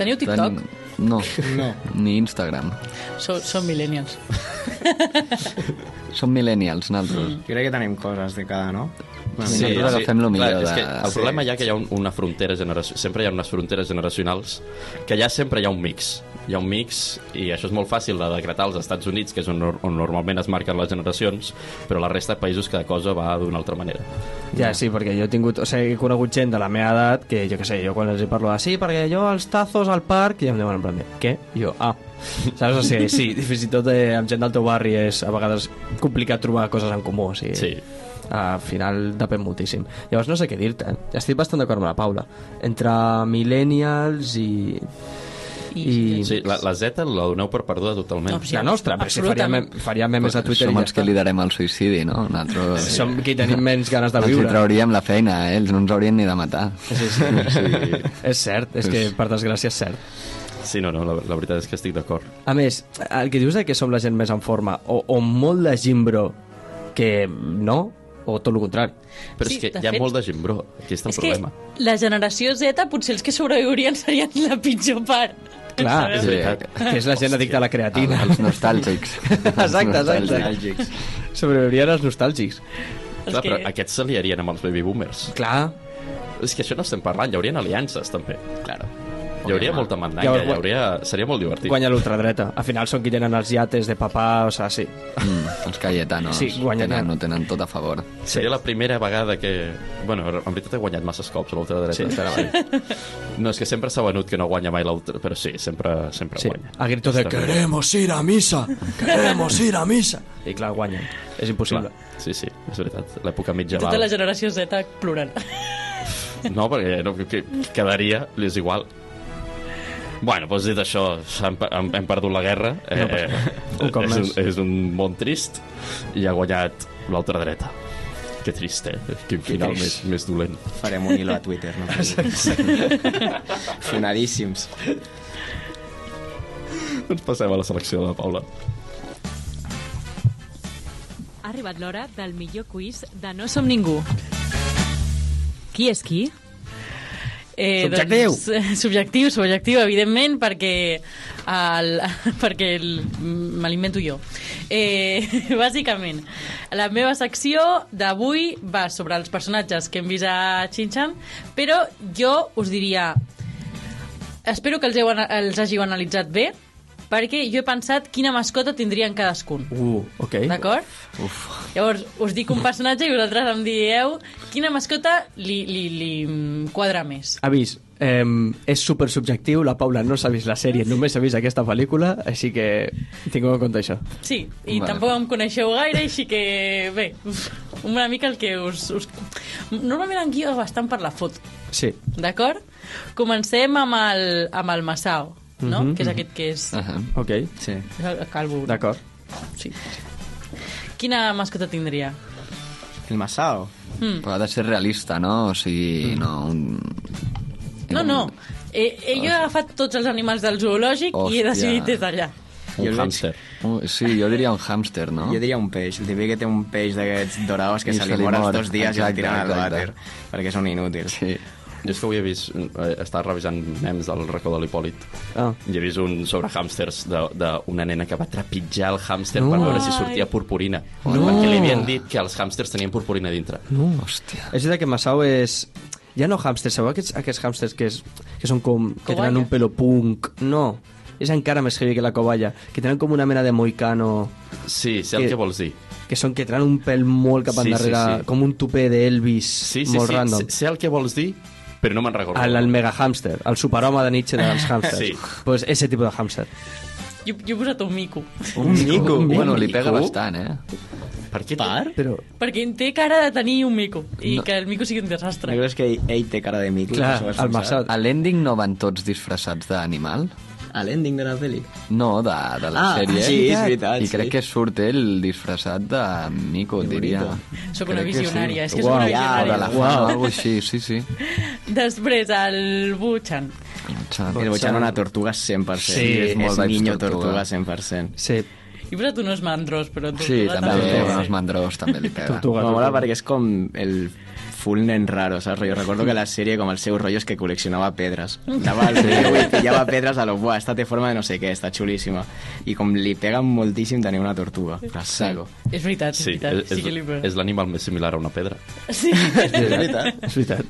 Speaker 2: Teniu TikTok?
Speaker 4: No,
Speaker 6: No.
Speaker 4: ni Instagram.
Speaker 2: Sou, sou millennials.
Speaker 4: Som millennials, nosaltres.
Speaker 6: Mm. Jo crec que tenim coses de cada, no? Una
Speaker 4: Sí,
Speaker 6: mica.
Speaker 4: nosaltres agafem lo millor
Speaker 1: és
Speaker 4: de-
Speaker 1: que el
Speaker 4: sí.
Speaker 1: problema ja que hi ha un, una frontera generació, sempre hi ha unes fronteres generacionals que ja sempre hi ha un mix hi ha un mix i això és molt fàcil de decretar als Estats Units, que és on, nor- on normalment es marquen les generacions, però la resta de països cada cosa va d'una altra manera.
Speaker 3: Ja, sí, perquè jo he tingut... O sigui, he conegut gent de la meva edat que, jo què sé, jo quan els hi parlo de sí, perquè jo els tazos al parc, i em diuen en plan de, què? I jo, ah. Saps? O sigui, sí, fins i tot eh, amb gent del teu barri és a vegades complicat trobar coses en comú, o sigui...
Speaker 1: Sí.
Speaker 3: Al final depèn moltíssim. Llavors no sé què dir-te. Estic bastant d'acord amb la Paula. Entre millennials i... I...
Speaker 1: Sí, la, la Z la doneu per perduda totalment.
Speaker 2: No, sí.
Speaker 3: La nostra, però si faria, mem
Speaker 2: Absolutament.
Speaker 3: faria memes a Twitter
Speaker 4: Som
Speaker 3: i ja
Speaker 4: els que
Speaker 3: està.
Speaker 4: liderem el suïcidi, no? Nosaltres...
Speaker 3: Som qui tenim menys ganes de
Speaker 4: els hi
Speaker 3: viure.
Speaker 4: trauríem la feina, eh? Ells no ens haurien ni de matar.
Speaker 3: Sí, sí. sí. És cert, és que per desgràcia és cert.
Speaker 1: Sí, no, no, la, la veritat és que estic d'acord.
Speaker 3: A més, el que dius de que som la gent més en forma, o, o molt de gimbro que no, o tot el contrari.
Speaker 1: Però
Speaker 2: Sí,
Speaker 1: és que
Speaker 2: de
Speaker 1: hi ha
Speaker 2: fet-
Speaker 1: molt de gent, bro. Aquí està el
Speaker 2: És
Speaker 1: problema.
Speaker 2: que la generació Z, potser els que sobreviurien serien la pitjor part.
Speaker 3: Clar,
Speaker 2: Sabeu?
Speaker 1: És
Speaker 4: Sí.
Speaker 1: veritat.
Speaker 3: que és la gent addicta a la
Speaker 4: El,
Speaker 3: creatina.
Speaker 4: els nostàlgics.
Speaker 3: Exacte, exacte.
Speaker 6: Nostàlgics.
Speaker 3: Sobreviurien els nostàlgics.
Speaker 1: Clar,
Speaker 2: que-
Speaker 1: però aquests s'aliarien amb els baby boomers.
Speaker 3: Clar,
Speaker 1: És que això no estem parlant, hi haurien aliances, també. Claro. Hi hauria molta mandanga,
Speaker 3: Llavors,
Speaker 1: hi hauria... seria molt divertit.
Speaker 3: guanya l'ultradreta. Al final són qui tenen els iates de papà, o sigui, sí.
Speaker 4: Mm, els Cayetanos
Speaker 3: Sí, guanyen.
Speaker 4: tenen, no tenen tot a favor.
Speaker 1: Seria la primera vegada que... Bueno, en veritat he guanyat masses cops a l'ultra
Speaker 3: Sí,
Speaker 1: dreta.
Speaker 3: està
Speaker 1: No, és que sempre s'ha venut que no guanya mai l'ultra... Però sí, sempre, sempre
Speaker 3: Sí,
Speaker 1: guanya.
Speaker 3: a grito de
Speaker 1: Està bé.
Speaker 3: queremos ir a misa, queremos ir a misa. I clar, guanyen. És impossible.
Speaker 1: Clar. Sí, sí, és veritat. L'època mitjaval.
Speaker 2: Tota la generació Z plorant.
Speaker 1: No, perquè no, que, quedaria, li és igual. Bueno, doncs dit això, hem, hem, hem perdut la guerra. Eh,
Speaker 3: un cop
Speaker 1: és,
Speaker 3: més.
Speaker 1: un, és un món trist i ha guanyat l'altra dreta. Que trist, eh? Quin final més,
Speaker 3: trist.
Speaker 1: més dolent.
Speaker 6: Farem un hilo a Twitter, no? Fonadíssims.
Speaker 1: Doncs passem a la selecció de la Paula.
Speaker 7: Ha arribat l'hora del millor quiz de No Som Ningú. Qui és qui?
Speaker 2: Eh,
Speaker 3: Subjectiu.
Speaker 2: Doncs, eh, subjectiu, subjectiu, evidentment, perquè, el, perquè el, me l'invento jo. Eh, bàsicament, la meva secció d'avui va sobre els personatges que hem vist a Xinxan, però jo us diria... Espero que els, heu, ana- els hàgiu analitzat bé, perquè jo he pensat quina mascota tindrien cadascun.
Speaker 3: Uh, ok.
Speaker 2: D'acord? Llavors, us dic un personatge i vosaltres em dieu quina mascota li, li, li mm, quadra més.
Speaker 3: Avís, eh, és super subjectiu, la Paula no s'ha vist la sèrie, només s'ha vist aquesta pel·lícula, així que tingueu en compte això.
Speaker 2: Sí, i
Speaker 4: Vale.
Speaker 2: tampoc em coneixeu gaire, així que bé, una mica el que us... us... Normalment en guio bastant per la foto,
Speaker 3: Sí.
Speaker 2: d'acord? Comencem amb el, amb el Masao, no?
Speaker 3: Mhm.
Speaker 2: Que és aquest que és...
Speaker 4: Ahà.
Speaker 3: Ok,
Speaker 6: Sí.
Speaker 2: és
Speaker 4: Ah.
Speaker 2: el Calvo.
Speaker 3: d'acord.
Speaker 2: Sí. Quina mascota tindria?
Speaker 6: El Masao.
Speaker 4: Però ha de ser realista, no? O sigui, no... Un...
Speaker 2: No, no. Eh, eh, jo he agafat tots els animals del zoològic i he
Speaker 4: Hòstia.
Speaker 2: decidit des d'allà.
Speaker 1: Un
Speaker 6: Jo el veig-
Speaker 1: hàmster.
Speaker 4: Uh, sí, jo diria un hàmster, no?
Speaker 6: Jo diria un peix. El típic que té un peix d'aquests dorados que
Speaker 4: Ah. I
Speaker 6: se li
Speaker 4: se li
Speaker 6: mor als
Speaker 4: mor.
Speaker 6: dos dies i
Speaker 4: Exacte,
Speaker 6: el tiren al
Speaker 4: exacte.
Speaker 6: vàter. Perquè són inútils.
Speaker 4: Sí.
Speaker 1: Jo és que avui he vist... Eh, estava revisant memes del racó de l'Hipòlit
Speaker 3: Ah.
Speaker 1: i he vist un sobre hàmsters d'una nena que va trepitjar el hàmster per
Speaker 3: No.
Speaker 1: veure si sortia purpurina.
Speaker 3: No.
Speaker 1: Perquè li havien dit que els hàmsters tenien purpurina dintre.
Speaker 3: No.
Speaker 4: Hòstia.
Speaker 3: És veritat que Masao és... Ja no hàmsters, sabeu aquests, aquests hàmsters que, és, que són com... Que
Speaker 2: Cobaya.
Speaker 3: tenen un pelo punk? No, és encara més heavy que la coballa, que tenen com una mena de moicano,
Speaker 1: Sí, sé el
Speaker 3: Que-
Speaker 1: que vols dir.
Speaker 3: que són que tenen un pèl molt cap
Speaker 1: Sí, sí,
Speaker 3: endarrere,
Speaker 1: sí.
Speaker 3: com un tupé d'Elvis,
Speaker 1: Sí, sí,
Speaker 3: molt
Speaker 1: sí,
Speaker 3: random.
Speaker 1: Sé, sé el que vols dir, però no me'n recordo.
Speaker 3: El, el mega hàmster, el superhome de Nietzsche dels hàmsters.
Speaker 1: Sí.
Speaker 3: Pues ese tipus de hàmster.
Speaker 2: Jo, jo he posat un mico.
Speaker 4: Un
Speaker 3: mico.
Speaker 4: mico. Bueno, li pega
Speaker 1: Mico.
Speaker 4: bastant, eh?
Speaker 1: Per què? Par?
Speaker 3: Però,
Speaker 2: Perquè té cara de tenir un mico i no. que el mico sigui un desastre.
Speaker 6: No creus que ell, ell té cara de mico?
Speaker 3: clar,
Speaker 6: que s'ho has
Speaker 3: el
Speaker 6: pensat?
Speaker 3: Masao...
Speaker 4: A l'ending no van tots disfressats d'animal?
Speaker 6: A l'ending de la pel·li?
Speaker 4: No, de, de la
Speaker 6: Ah,
Speaker 4: sèrie.
Speaker 6: sí, és veritat,
Speaker 4: I
Speaker 6: sí.
Speaker 4: crec que surt ell disfressat de mico, diria.
Speaker 2: Sóc una
Speaker 4: Crec que
Speaker 2: visionària, és que
Speaker 4: Uau,
Speaker 2: sóc una
Speaker 4: o de
Speaker 2: visionària.
Speaker 4: la fama, wow. o alguna així, sí, sí.
Speaker 2: Després, el Buchan.
Speaker 4: Xan.
Speaker 6: El Bochan una tortuga 100%.
Speaker 3: Sí,
Speaker 6: és molt
Speaker 4: és
Speaker 6: niño
Speaker 4: tortuga.
Speaker 6: tortuga 100%.
Speaker 3: Sí,
Speaker 2: He posat unos mandros, però...
Speaker 4: Sí,
Speaker 2: tortuga
Speaker 4: també,
Speaker 6: també.
Speaker 4: amb els mandrós també li pega.
Speaker 3: tortuga.
Speaker 6: Me mola
Speaker 3: tortuga.
Speaker 6: perquè és com el full nen raro, saps? Jo recordo que la sèrie com el seu rotllo és que col·leccionava pedres. Anava al riu i pillava pedres a lo, buah, esta té forma de no sé què, està xulíssima. I com li pega moltíssim tenir una tortuga, però a saco.
Speaker 2: És veritat, és
Speaker 1: Sí,
Speaker 2: veritat.
Speaker 1: és,
Speaker 2: sí que li
Speaker 1: és,
Speaker 2: pego.
Speaker 1: és l'animal més similar a una pedra.
Speaker 2: Sí.
Speaker 3: És veritat. És veritat.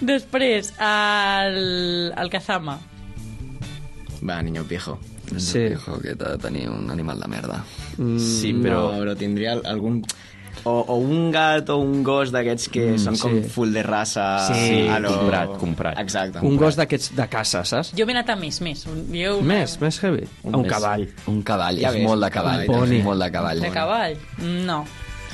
Speaker 2: Després, el, el Kazama.
Speaker 6: Va, niño pijo.
Speaker 3: Sí.
Speaker 4: Dijo que t'ha de tenir un animal de merda.
Speaker 1: Mm, sí, però...
Speaker 6: No, però tindria algun... O, o un gat o un gos d'aquests que mm, són com
Speaker 3: sí.
Speaker 6: full de raça...
Speaker 3: Sí,
Speaker 6: a lo...
Speaker 1: comprat, comprat.
Speaker 6: Exacte.
Speaker 3: Un gos d'aquests de caça, saps?
Speaker 2: Jo m'he anat a més, més. Jo...
Speaker 3: Més, més heavy. Un,
Speaker 4: Més.
Speaker 3: cavall.
Speaker 4: Un cavall,
Speaker 6: Ja
Speaker 4: és
Speaker 6: ves,
Speaker 4: molt de
Speaker 6: un
Speaker 4: cavall.
Speaker 3: poni.
Speaker 4: És molt de cavall.
Speaker 2: De cavall? No.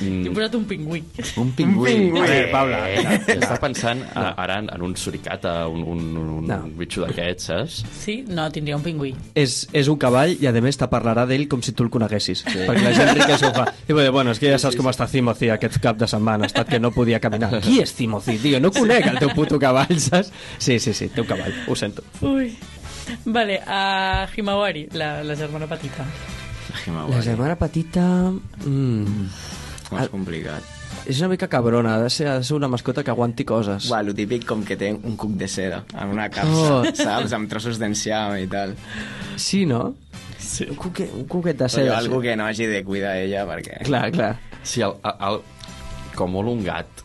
Speaker 2: Mm. He posat un pingüí.
Speaker 4: Un pingüí.
Speaker 1: A
Speaker 6: pingüí. Eh, Ué.
Speaker 1: veure, Paula, Eh, està pensant a, ara en, en un suricata, un, un, un,
Speaker 3: No.
Speaker 1: un bitxo d'aquests, saps?
Speaker 2: Sí? No, tindria un pingüí.
Speaker 3: és, és un cavall i a més te parlarà d'ell com si tu el coneguessis sí. perquè la gent rica això ho fa i dir, bueno, és que ja saps com està Timothy aquest cap de setmana ha estat que no podia caminar qui és Timothy, tio? no conec el teu puto cavall saps? sí, sí, sí, té un cavall, ho sento
Speaker 2: Ui. Vale, a Himawari, la, la germana petita.
Speaker 3: la germana petita mm,
Speaker 6: És complicat.
Speaker 3: és una mica cabrona ha de, ser, ha de ser una mascota que aguanti coses
Speaker 6: Uà, lo típic com que té un cuc de seda en una capsa,
Speaker 3: Oh.
Speaker 6: oh. saps? Amb trossos d'enciam i tal.
Speaker 3: sí, no? Sí. Un, cuquet, un cuquet de
Speaker 6: Però
Speaker 3: seda
Speaker 6: algú que no hagi de cuidar ella, perquè...
Speaker 3: clar, clar
Speaker 1: Sí, el, el, com molt un gat,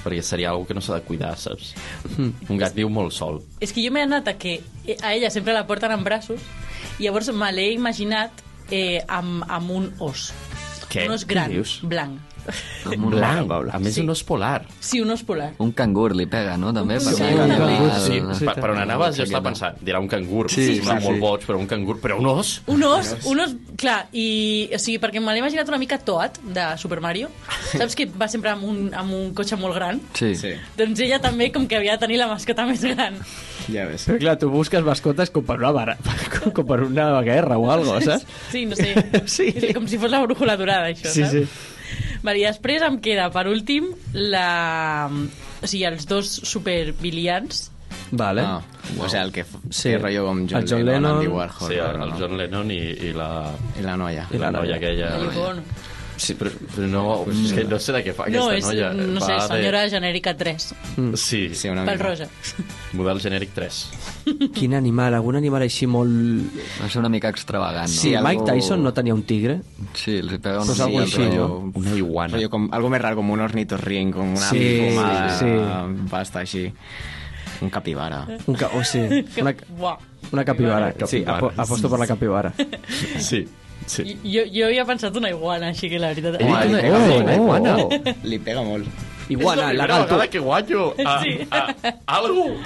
Speaker 1: perquè seria algo que no s'ha de cuidar, saps? Un gat viu molt sol.
Speaker 2: És que jo m'he anat a que eh, a ella sempre la porten en braços i llavors me l'he imaginat eh, amb, amb un os.
Speaker 1: Què?
Speaker 2: Un os gran,
Speaker 1: Què dius?
Speaker 2: blanc.
Speaker 4: Com un
Speaker 1: Blanc,
Speaker 4: blanc.
Speaker 1: a més
Speaker 2: Sí.
Speaker 1: sí. un os polar.
Speaker 2: Sí, un os polar.
Speaker 4: Un cangur li pega, no? També,
Speaker 2: Sí,
Speaker 4: perquè
Speaker 2: un
Speaker 4: li
Speaker 2: cangur,
Speaker 4: agrada
Speaker 1: Ah, Sí,
Speaker 4: el-
Speaker 1: per, per on anaves jo estava pensant, dirà un cangur,
Speaker 4: Sí,
Speaker 1: sí,
Speaker 4: sí,
Speaker 1: clar,
Speaker 4: sí.
Speaker 1: molt boig, però un cangur, però un os?
Speaker 2: Un os, un os, clar, i, o sigui, perquè me l'he imaginat una mica Toad, de Super Mario. Saps que va sempre amb un, amb un cotxe molt gran?
Speaker 4: Sí.
Speaker 6: Sí,
Speaker 2: Doncs ella també com que havia de tenir la mascota més gran.
Speaker 6: ja ves.
Speaker 3: però clar, tu busques mascotes com per una, vara, com per una guerra o alguna cosa, saps?
Speaker 2: Sí, no sé.
Speaker 3: Sí.
Speaker 2: És com si fos la brújula durada, això,
Speaker 3: Sí,
Speaker 2: saps?
Speaker 3: sí.
Speaker 2: Vale, I després em queda, per últim, la... o sigui, els dos supervilians.
Speaker 3: Vale.
Speaker 6: No, o sigui, el que f-
Speaker 3: Ah, Sí.
Speaker 6: té rotllo com John,
Speaker 3: El John Lennon.
Speaker 6: Andy Warhol,
Speaker 1: Sí, el,
Speaker 6: però
Speaker 1: el
Speaker 6: no.
Speaker 1: John Lennon i, i la...
Speaker 6: I la noia.
Speaker 1: I la noia aquella...
Speaker 2: Yoko Ono.
Speaker 1: Sí, però, però no, és que no sé de què fa
Speaker 2: No,
Speaker 1: aquesta
Speaker 2: és, mm,
Speaker 1: noia.
Speaker 2: no
Speaker 1: Va
Speaker 2: sé,
Speaker 1: de- Mm.
Speaker 2: senyora genèrica 3,
Speaker 1: Sí,
Speaker 6: Sí, una
Speaker 2: pel
Speaker 6: mica.
Speaker 2: rosa.
Speaker 1: model genèric 3.
Speaker 3: Quin animal, algun animal així molt...
Speaker 4: Va ser una mica extravagant, no?
Speaker 3: Ah, Sí,
Speaker 6: algú-
Speaker 3: Mike Tyson no tenia un tigre?
Speaker 4: Sí, els hi pega una
Speaker 3: Doncs algo
Speaker 4: mica,
Speaker 3: així,
Speaker 4: però-
Speaker 3: no?
Speaker 1: Una iguana.
Speaker 6: Rotllo com, algo més raro, com un ornitorrinc, com una
Speaker 3: Sí,
Speaker 6: fumada,
Speaker 3: sí.
Speaker 6: pasta així. Un capibara.
Speaker 3: Un ca... O sigui, una,
Speaker 2: Buah.
Speaker 3: una capibara.
Speaker 1: Capibara.
Speaker 3: Sí, apo aposto per la capibara.
Speaker 1: Sí, sí.
Speaker 2: Jo, jo havia pensat una iguana, així que la veritat...
Speaker 1: Ell
Speaker 6: Home,
Speaker 1: diu
Speaker 6: li
Speaker 1: que-
Speaker 6: pega
Speaker 1: oh,
Speaker 6: molt, eh?
Speaker 1: iguana.
Speaker 6: Li pega molt.
Speaker 3: Iguana,
Speaker 1: és la primera
Speaker 3: legal, tu.
Speaker 1: vegada que guanyo a,
Speaker 2: Sí.
Speaker 1: a, a, algú.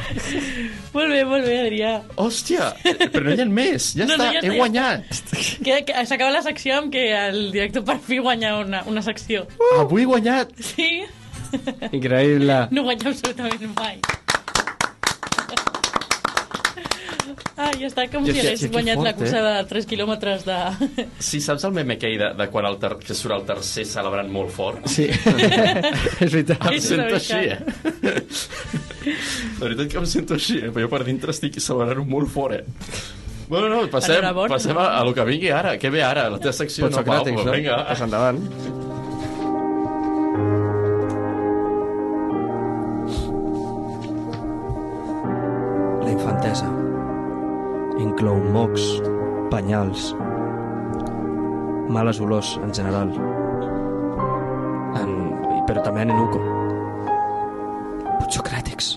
Speaker 2: Molt bé, molt bé, Adrià.
Speaker 1: Hòstia, però no hi ha més. Ja
Speaker 2: No,
Speaker 1: està,
Speaker 2: no, ja
Speaker 1: he
Speaker 2: està, ja
Speaker 1: guanyat.
Speaker 2: Que, que S'acaba la secció amb que el director per fi guanya una, una secció.
Speaker 1: Avui he guanyat.
Speaker 2: Sí?
Speaker 3: Increïble.
Speaker 2: No guanya absolutament mai. Ah, ja està, com
Speaker 1: Ja
Speaker 2: si
Speaker 1: sé,
Speaker 2: hagués
Speaker 1: sí, que
Speaker 2: guanyat
Speaker 1: fort,
Speaker 2: la cursa de 3 quilòmetres de...
Speaker 1: Sí, saps el meme aquell de, de quan el ter que surt el tercer celebrant molt fort?
Speaker 3: Sí, és veritat.
Speaker 1: Em
Speaker 2: És
Speaker 1: sento
Speaker 2: una
Speaker 1: així, eh? La veritat que em sento així, eh? Però jo per dintre estic celebrant molt fort, eh? Bueno, no, passem,
Speaker 2: Enhorabona.
Speaker 1: passem a, a lo que vingui ara. Què ve ara? La teva secció no, Pau,
Speaker 3: Potsocràtics,
Speaker 1: però
Speaker 3: no?
Speaker 1: vinga.
Speaker 3: Pues endavant. La infantesa inclou mocs, penyals, males olors en general, en, però també en enuco. Potsocràtics.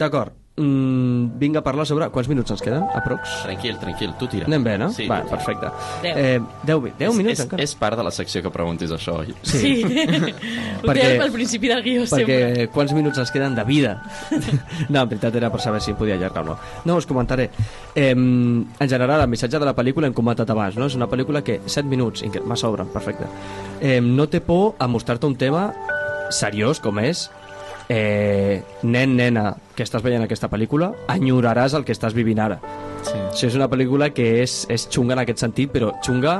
Speaker 3: D'acord. Mm, vinc a parlar sobre... Quants minuts ens queden, aprox?
Speaker 1: Tranquil, tranquil, tu tira.
Speaker 3: Anem bé, no?
Speaker 1: Sí.
Speaker 3: Va, perfecte.
Speaker 2: Deu.
Speaker 3: 10 eh, 10 minuts
Speaker 1: és,
Speaker 3: encara.
Speaker 1: és part de la secció que preguntis això, oi?
Speaker 2: Sí. sí. Ho
Speaker 3: Perquè-
Speaker 2: perquè, al principi del guió,
Speaker 3: perquè
Speaker 2: sempre.
Speaker 3: quants minuts ens queden de vida? no, en veritat era per saber si podia allargar o no. No, us comentaré. Eh, en general, el missatge de la pel·lícula hem comentat abans, no? És una pel·lícula que 7 minuts, inque- me sobren, perfecte. Eh, no té por a mostrar-te un tema seriós com és eh, nen, nena, que estàs veient aquesta pel·lícula, enyoraràs el que estàs vivint ara. Sí. Això és una pel·lícula que és, és xunga en aquest sentit, però xunga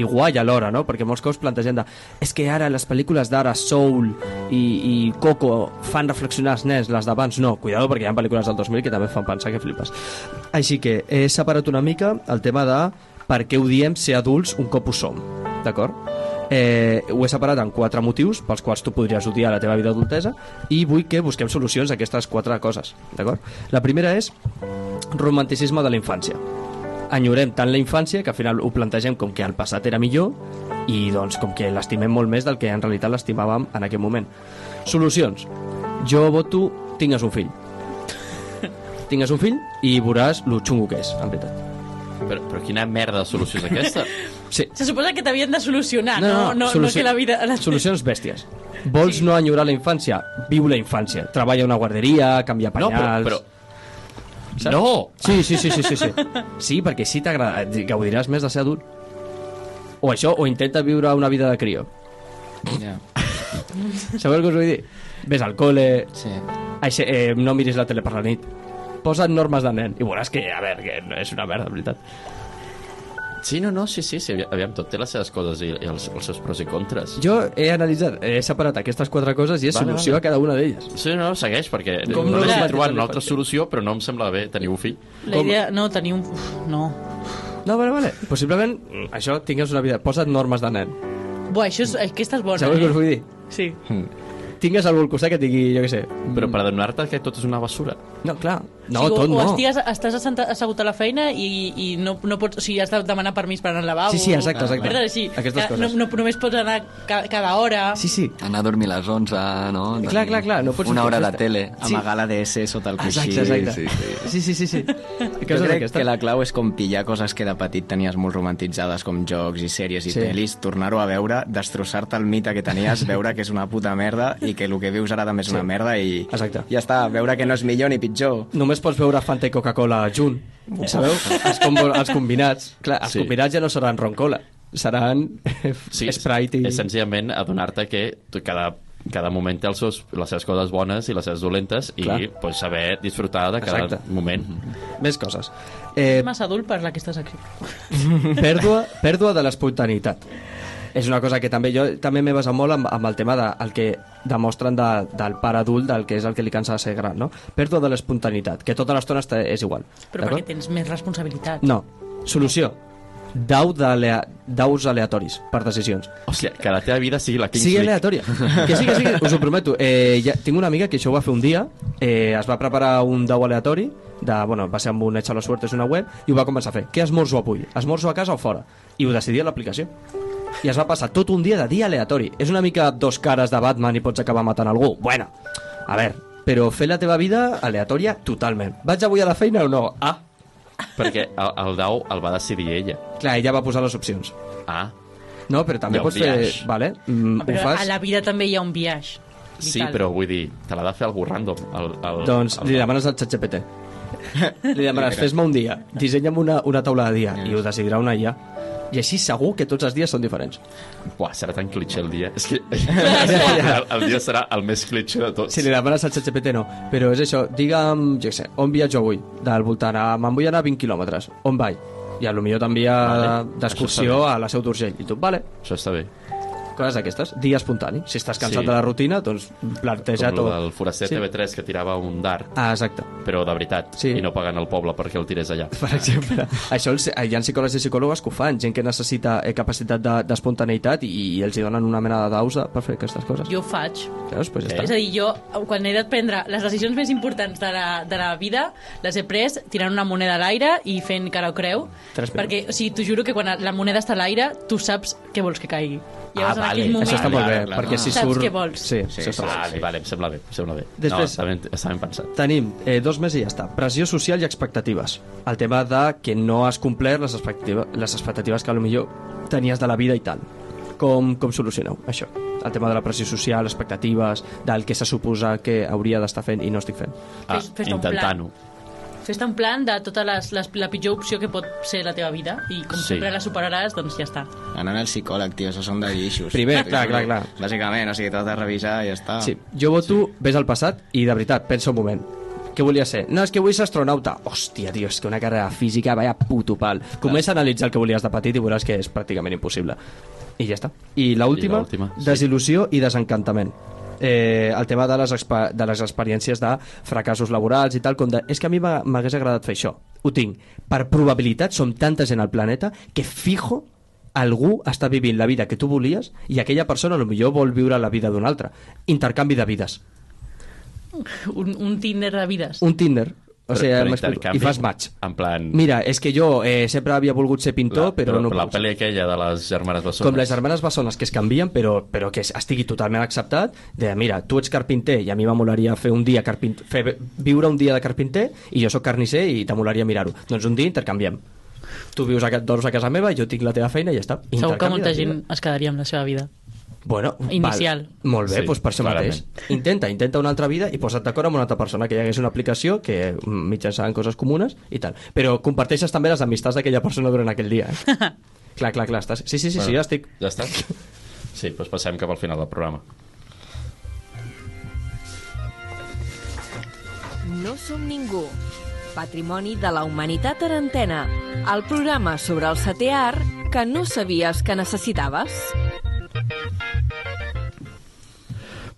Speaker 3: i guai alhora, no? Perquè molts cops plantegem de és que ara les pel·lícules d'ara, Soul i, i Coco, fan reflexionar els nens, les d'abans no. Cuidado, perquè hi ha pel·lícules del 2000 que també fan pensar que flipes. Així que he separat una mica el tema de per què odiem ser adults un cop ho som, d'acord? Eh, ho he separat en quatre motius pels quals tu podries odiar la teva vida adultesa i vull que busquem solucions a aquestes quatre coses, d'acord? La primera és romanticisme de la infància. Enyorem tant la infància que al final ho plantegem com que el passat era millor i doncs com que l'estimem molt més del que en realitat l'estimàvem en aquell moment. Solucions. Jo voto tingues un fill. Tingues un fill i veuràs lo xungo que és, en veritat.
Speaker 1: Però, però quina merda de solució és aquesta?
Speaker 3: Sí.
Speaker 2: Se suposa que t'havien de solucionar, Ah, no? No, no, no que la vida... La...
Speaker 3: Solucions bèsties. Vols no enyorar la infància? Viu la infància. Treballa a una guarderia, canvia
Speaker 1: No,
Speaker 3: penyals...
Speaker 1: però... però... No!
Speaker 3: Sí, sí, sí, sí, sí, sí. Sí, perquè sí t'agrada, gaudiràs més de ser adult. O això, o intenta viure una vida de crio.
Speaker 6: Ja.
Speaker 3: Sabeu què us vull dir? Ves al col·le,
Speaker 6: Sí.
Speaker 3: aixe, eh, no miris la tele per la nit, posa't normes de nen i veuràs que, a veure, que no és una merda, de veritat.
Speaker 1: Sí, no, no, sí, sí, sí aviam, aviam, tot té les seves coses i, i els, els seus pros i contres.
Speaker 3: Jo he analitzat, he separat aquestes quatre coses i he
Speaker 1: Vale,
Speaker 3: vale,
Speaker 1: vale.
Speaker 3: solució vale. a cada una d'elles.
Speaker 1: Sí, no, segueix, perquè
Speaker 3: Com
Speaker 1: no
Speaker 3: no
Speaker 1: n'he
Speaker 3: l'ha-
Speaker 1: trobat una
Speaker 3: l'ha-
Speaker 1: altra solució, però no em sembla bé tenir un fill.
Speaker 2: La
Speaker 3: Com?
Speaker 2: idea... No, tenir un... Uf, no.
Speaker 3: No, vale, vale. Possiblement, mm, això, tingues una vida... Posa't normes de nen.
Speaker 2: Buah, això és... Aquesta és bona, eh?
Speaker 3: Sabeu què us vull dir?
Speaker 2: Sí.
Speaker 3: Tingues algú al costat que et digui, jo què sé...
Speaker 1: Però per adonar-te que tot és una basura.
Speaker 3: No, clar. No,
Speaker 2: o, sigui, o-
Speaker 3: tot
Speaker 2: o
Speaker 3: no.
Speaker 2: Estigues, estàs assenta- assegut a la feina i, i no, no pots... O sigui, has de demanar permís per anar al lavabo.
Speaker 3: Sí, sí, exacte, exacte.
Speaker 2: Merda així,
Speaker 3: Aquestes
Speaker 2: que
Speaker 3: coses.
Speaker 2: No, no, només pots anar ca, cada hora.
Speaker 3: Sí, sí.
Speaker 4: Anar a dormir a les 11, no? Tenir
Speaker 3: Clar, clar, clar, no pots
Speaker 4: Una
Speaker 3: fer
Speaker 4: hora a la
Speaker 3: festa.
Speaker 4: tele.
Speaker 3: Sí.
Speaker 6: Amagar la DS sota el coixí.
Speaker 3: Exacte, exacte.
Speaker 4: sí,
Speaker 3: sí, sí, sí. sí.
Speaker 6: Jo
Speaker 3: Coses
Speaker 6: crec
Speaker 3: d'aquestes.
Speaker 6: que la clau és com pillar coses que de petit tenies molt romantitzades, com jocs i sèries i
Speaker 3: Sí.
Speaker 6: sí. pel·lis, tornar-ho a veure, destrossar-te el mite que tenies, veure que és una puta merda i que el que vius ara també és una
Speaker 3: Sí.
Speaker 6: merda i
Speaker 3: Exacte.
Speaker 6: ja està, veure que no és millor ni pitjor.
Speaker 3: Només pots veure Fanta i Coca-Cola junt, sabeu? Els, combo, els combinats. Clar, els
Speaker 1: Sí.
Speaker 3: sí. combinats ja no seran roncola, seran sí, Sprite i...
Speaker 1: És senzillament adonar-te que tu cada, cada moment té els seus, les seves coses bones i les seves dolentes i
Speaker 3: Clar.
Speaker 1: pues, saber disfrutar de cada
Speaker 3: Exacte. Mm-hmm.
Speaker 1: moment.
Speaker 3: Més coses. Eh,
Speaker 2: És massa adult per aquesta secció.
Speaker 3: pèrdua, pèrdua de l'espontaneïtat. És una cosa que també jo també m'he basat molt amb, amb el tema del el que demostren de, del pare adult, del que és el que li cansa de ser gran, no? Pèrdua de l'espontaneïtat, que tota l'estona està- és igual.
Speaker 2: Però
Speaker 3: d'acord?
Speaker 2: perquè tens més responsabilitat.
Speaker 3: No. Solució. Dau d'alea- daus aleatoris per decisions.
Speaker 1: Hòstia, que la teva vida sigui la Kings
Speaker 3: Sigui
Speaker 1: League.
Speaker 3: aleatòria. Que sí, que sí, us ho prometo. Eh, ja, tinc una amiga que això ho va fer un dia, eh, es va preparar un dau aleatori, de, bueno, va ser amb un Echa la Suerte, és una web, i ho va començar a fer. Què esmorzo avui? Esmorzo a casa o fora? I ho decidia l'aplicació. I es va passar tot un dia de dia aleatori. És una mica dos cares de Batman i pots acabar matant algú. Bueno, a veure, però fer la teva vida aleatòria totalment. Vaig avui a la feina o no? Ah,
Speaker 1: Perquè el, el Dau el va decidir ella.
Speaker 3: clar, ella va posar les opcions.
Speaker 1: Ah,
Speaker 3: No, però
Speaker 1: Hi
Speaker 3: també
Speaker 1: ha un
Speaker 3: pots fer...
Speaker 1: biaix.
Speaker 3: Vale, mm, ho
Speaker 2: Però
Speaker 3: fas...
Speaker 2: a la vida també hi ha un viatge.
Speaker 1: sí, però vull dir, te l'ha de fer algú random. El, el,
Speaker 3: Doncs
Speaker 1: el,
Speaker 3: li demanes al ChatGPT. Li demanes, fes-me un dia, dissenya'm una, una taula de dia, i ho decidirà una IA. I així segur que tots els dies són diferents.
Speaker 1: Buah, serà tan clitxer el dia. És que... el, el, dia serà el més clitxer de tots.
Speaker 3: Si li demanes al ChatGPT no, però és això, digue'm, jo què sé, on viatjo avui? Del voltant a... Me'n vull anar 20 quilòmetres. On vaig? I a lo millor t'envia
Speaker 1: Vale,
Speaker 3: d'excursió
Speaker 1: això està
Speaker 3: a la Seu d'Urgell. I tu, vale,
Speaker 1: Això està bé.
Speaker 3: coses d'aquestes. Dia espontani. Si estàs cansat
Speaker 1: Sí.
Speaker 3: de la rutina, doncs planteja
Speaker 1: Com
Speaker 3: tot.
Speaker 1: lo del foraster sí. TV3 que tirava un dart,
Speaker 3: Ah, exacte.
Speaker 1: però de veritat, sí.
Speaker 3: Sí.
Speaker 1: i no pagant el poble perquè el tirés allà.
Speaker 3: per exemple. Ah, Això els, eh, hi ha psicòlegs i psicòlogues que ho fan, gent que necessita eh, capacitat de- d'espontaneïtat de, i, i els hi donen una mena de dausa per fer aquestes coses.
Speaker 2: Jo ho faig.
Speaker 3: Veus? Pues ja
Speaker 2: És
Speaker 3: està.
Speaker 2: a dir, jo, quan he de prendre les decisions més importants de la, de la vida, les he pres tirant una moneda a l'aire i fent cara o creu.
Speaker 3: Tres peus.
Speaker 2: Perquè, o sigui, t'ho juro que quan la moneda està a l'aire, tu saps què vols que caigui.
Speaker 1: Ah,
Speaker 2: en
Speaker 1: vale.
Speaker 2: aquell
Speaker 1: Això
Speaker 3: Això està molt bé,
Speaker 6: Clar, clar,
Speaker 3: perquè si
Speaker 2: Saps
Speaker 3: surt...
Speaker 2: què vols.
Speaker 3: Sí,
Speaker 6: Sí,
Speaker 3: sí, això està
Speaker 6: sí.
Speaker 3: molt
Speaker 1: Ah, Vale, vale, em sembla bé, em sembla bé.
Speaker 3: Després-
Speaker 1: No, està ben, està ben pensat.
Speaker 3: bé. Tenim eh, dos més i ja està. Pressió social i expectatives. El tema de que no has complert les, expectativa, les expectatives que potser tenies de la vida i tal. Com, com solucioneu això? El tema de la pressió social, expectatives, del que se suposa que hauria d'estar fent i no estic fent.
Speaker 1: Ah,
Speaker 2: Fes- fes-te un plan.
Speaker 1: Intentant-ho.
Speaker 2: Fes-te un plan de tota les, les, la pitjor opció que pot ser la teva vida i com
Speaker 1: Sí.
Speaker 2: sí. sempre la superaràs, doncs ja està.
Speaker 6: Anant al psicòleg, tio, això són de guixos.
Speaker 3: Primer,
Speaker 6: Sí,
Speaker 3: clar,
Speaker 6: sí.
Speaker 3: clar, clar.
Speaker 6: Bàsicament, o sigui, t'has de revisar i ja està.
Speaker 3: Sí, jo voto, sí. ves al passat i de veritat, pensa un moment. Què volia ser? No, és que vull ser astronauta. Hòstia, tio, és que una carrera de física, vaya puto pal. Comença a analitzar el que volies de petit i veuràs que és pràcticament impossible. I ja està. I l'última,
Speaker 1: l'última, sí.
Speaker 3: desil·lusió i desencantament. Eh, el tema de les, expe- de les experiències de fracassos laborals i tal, com de, és que a mi m'ha- m'hagués agradat fer això. Ho tinc. Per probabilitat, som tanta gent al planeta que fijo algú està vivint la vida que tu volies i aquella persona millor vol viure la vida d'una altra. Intercanvi de vides.
Speaker 2: Un, un Tinder de vides.
Speaker 3: Un Tinder. O sigui, m'explico.
Speaker 1: intercanvi,
Speaker 3: I fas match.
Speaker 1: En plan...
Speaker 3: Mira, és que jo eh, sempre havia volgut ser pintor, però,
Speaker 1: però
Speaker 3: no
Speaker 1: La
Speaker 3: puc.
Speaker 1: pel·li aquella de les germanes bessones.
Speaker 3: Com les germanes bessones que es canvien, però, però que estigui totalment acceptat, de mira, tu ets carpinter i a mi m'amolaria fer un dia carpinter, fer, viure un dia de carpinter i jo sóc carnisser i t'amolaria mirar-ho. Doncs un dia intercanviem. Tu vius a, ca- dors a casa meva, jo tinc la teva feina i ja està.
Speaker 2: Segur que
Speaker 3: Intercanvi
Speaker 2: molta
Speaker 3: de vida.
Speaker 2: gent es quedaria amb la seva vida.
Speaker 3: Bueno,
Speaker 2: Inicial.
Speaker 3: Val. Molt bé,
Speaker 1: Sí,
Speaker 3: sí, doncs per això
Speaker 1: clarament.
Speaker 3: mateix. Intenta, intenta una altra vida i posa't d'acord amb una altra persona que hi hagués una aplicació que mm, mitjançant coses comunes i tal. Però comparteixes també les amistats d'aquella persona durant aquell dia. Eh? clar, clar, clar, estàs... Sí, sí, sí, sí, ja estic.
Speaker 1: Ja està. Sí, doncs passem cap al final del programa.
Speaker 5: No som ningú. Patrimoni de la Humanitat Arantena. El programa sobre el setè art que no sabies que necessitaves.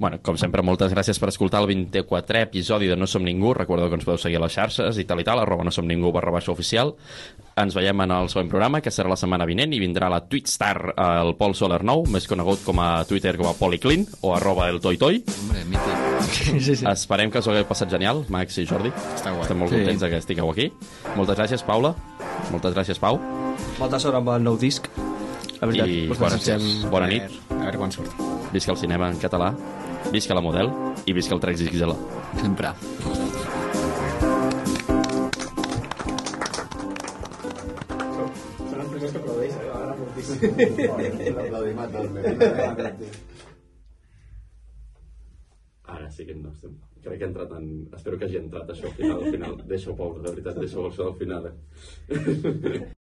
Speaker 1: Bueno, com sempre, moltes gràcies per escoltar el 24è episodi de No Som Ningú. Recordeu que ens podeu seguir a les xarxes i tal i tal, arroba no som ningú barra baixa oficial. Ens veiem en el següent programa, que serà la setmana vinent, i vindrà la Twitstar, el Pol Soler 9, més conegut com a Twitter com a Policlin, o arroba el Toi Toi.
Speaker 4: Hombre, mític.
Speaker 3: Sí, sí.
Speaker 1: Esperem que us ho hagueu passat genial, Max i Jordi.
Speaker 6: Està guai.
Speaker 1: Estem molt
Speaker 4: Sí.
Speaker 1: contents de que estigueu aquí. Moltes gràcies, Paula. Moltes gràcies, Pau.
Speaker 3: Molta sort amb el nou disc. La veritat,
Speaker 1: I
Speaker 3: us
Speaker 1: bona-
Speaker 3: desitgem...
Speaker 1: bona
Speaker 6: A
Speaker 1: nit.
Speaker 6: veure- A veure quan surt.
Speaker 1: Visca el cinema en català, visca la model i visca el 3XL.
Speaker 4: Sempre.
Speaker 1: Ara sí que no estem... Crec que ha entrat en... Espero que hagi entrat això al final. Al final. Deixa-ho, pobre, de veritat, deixa-ho això al final. Eh?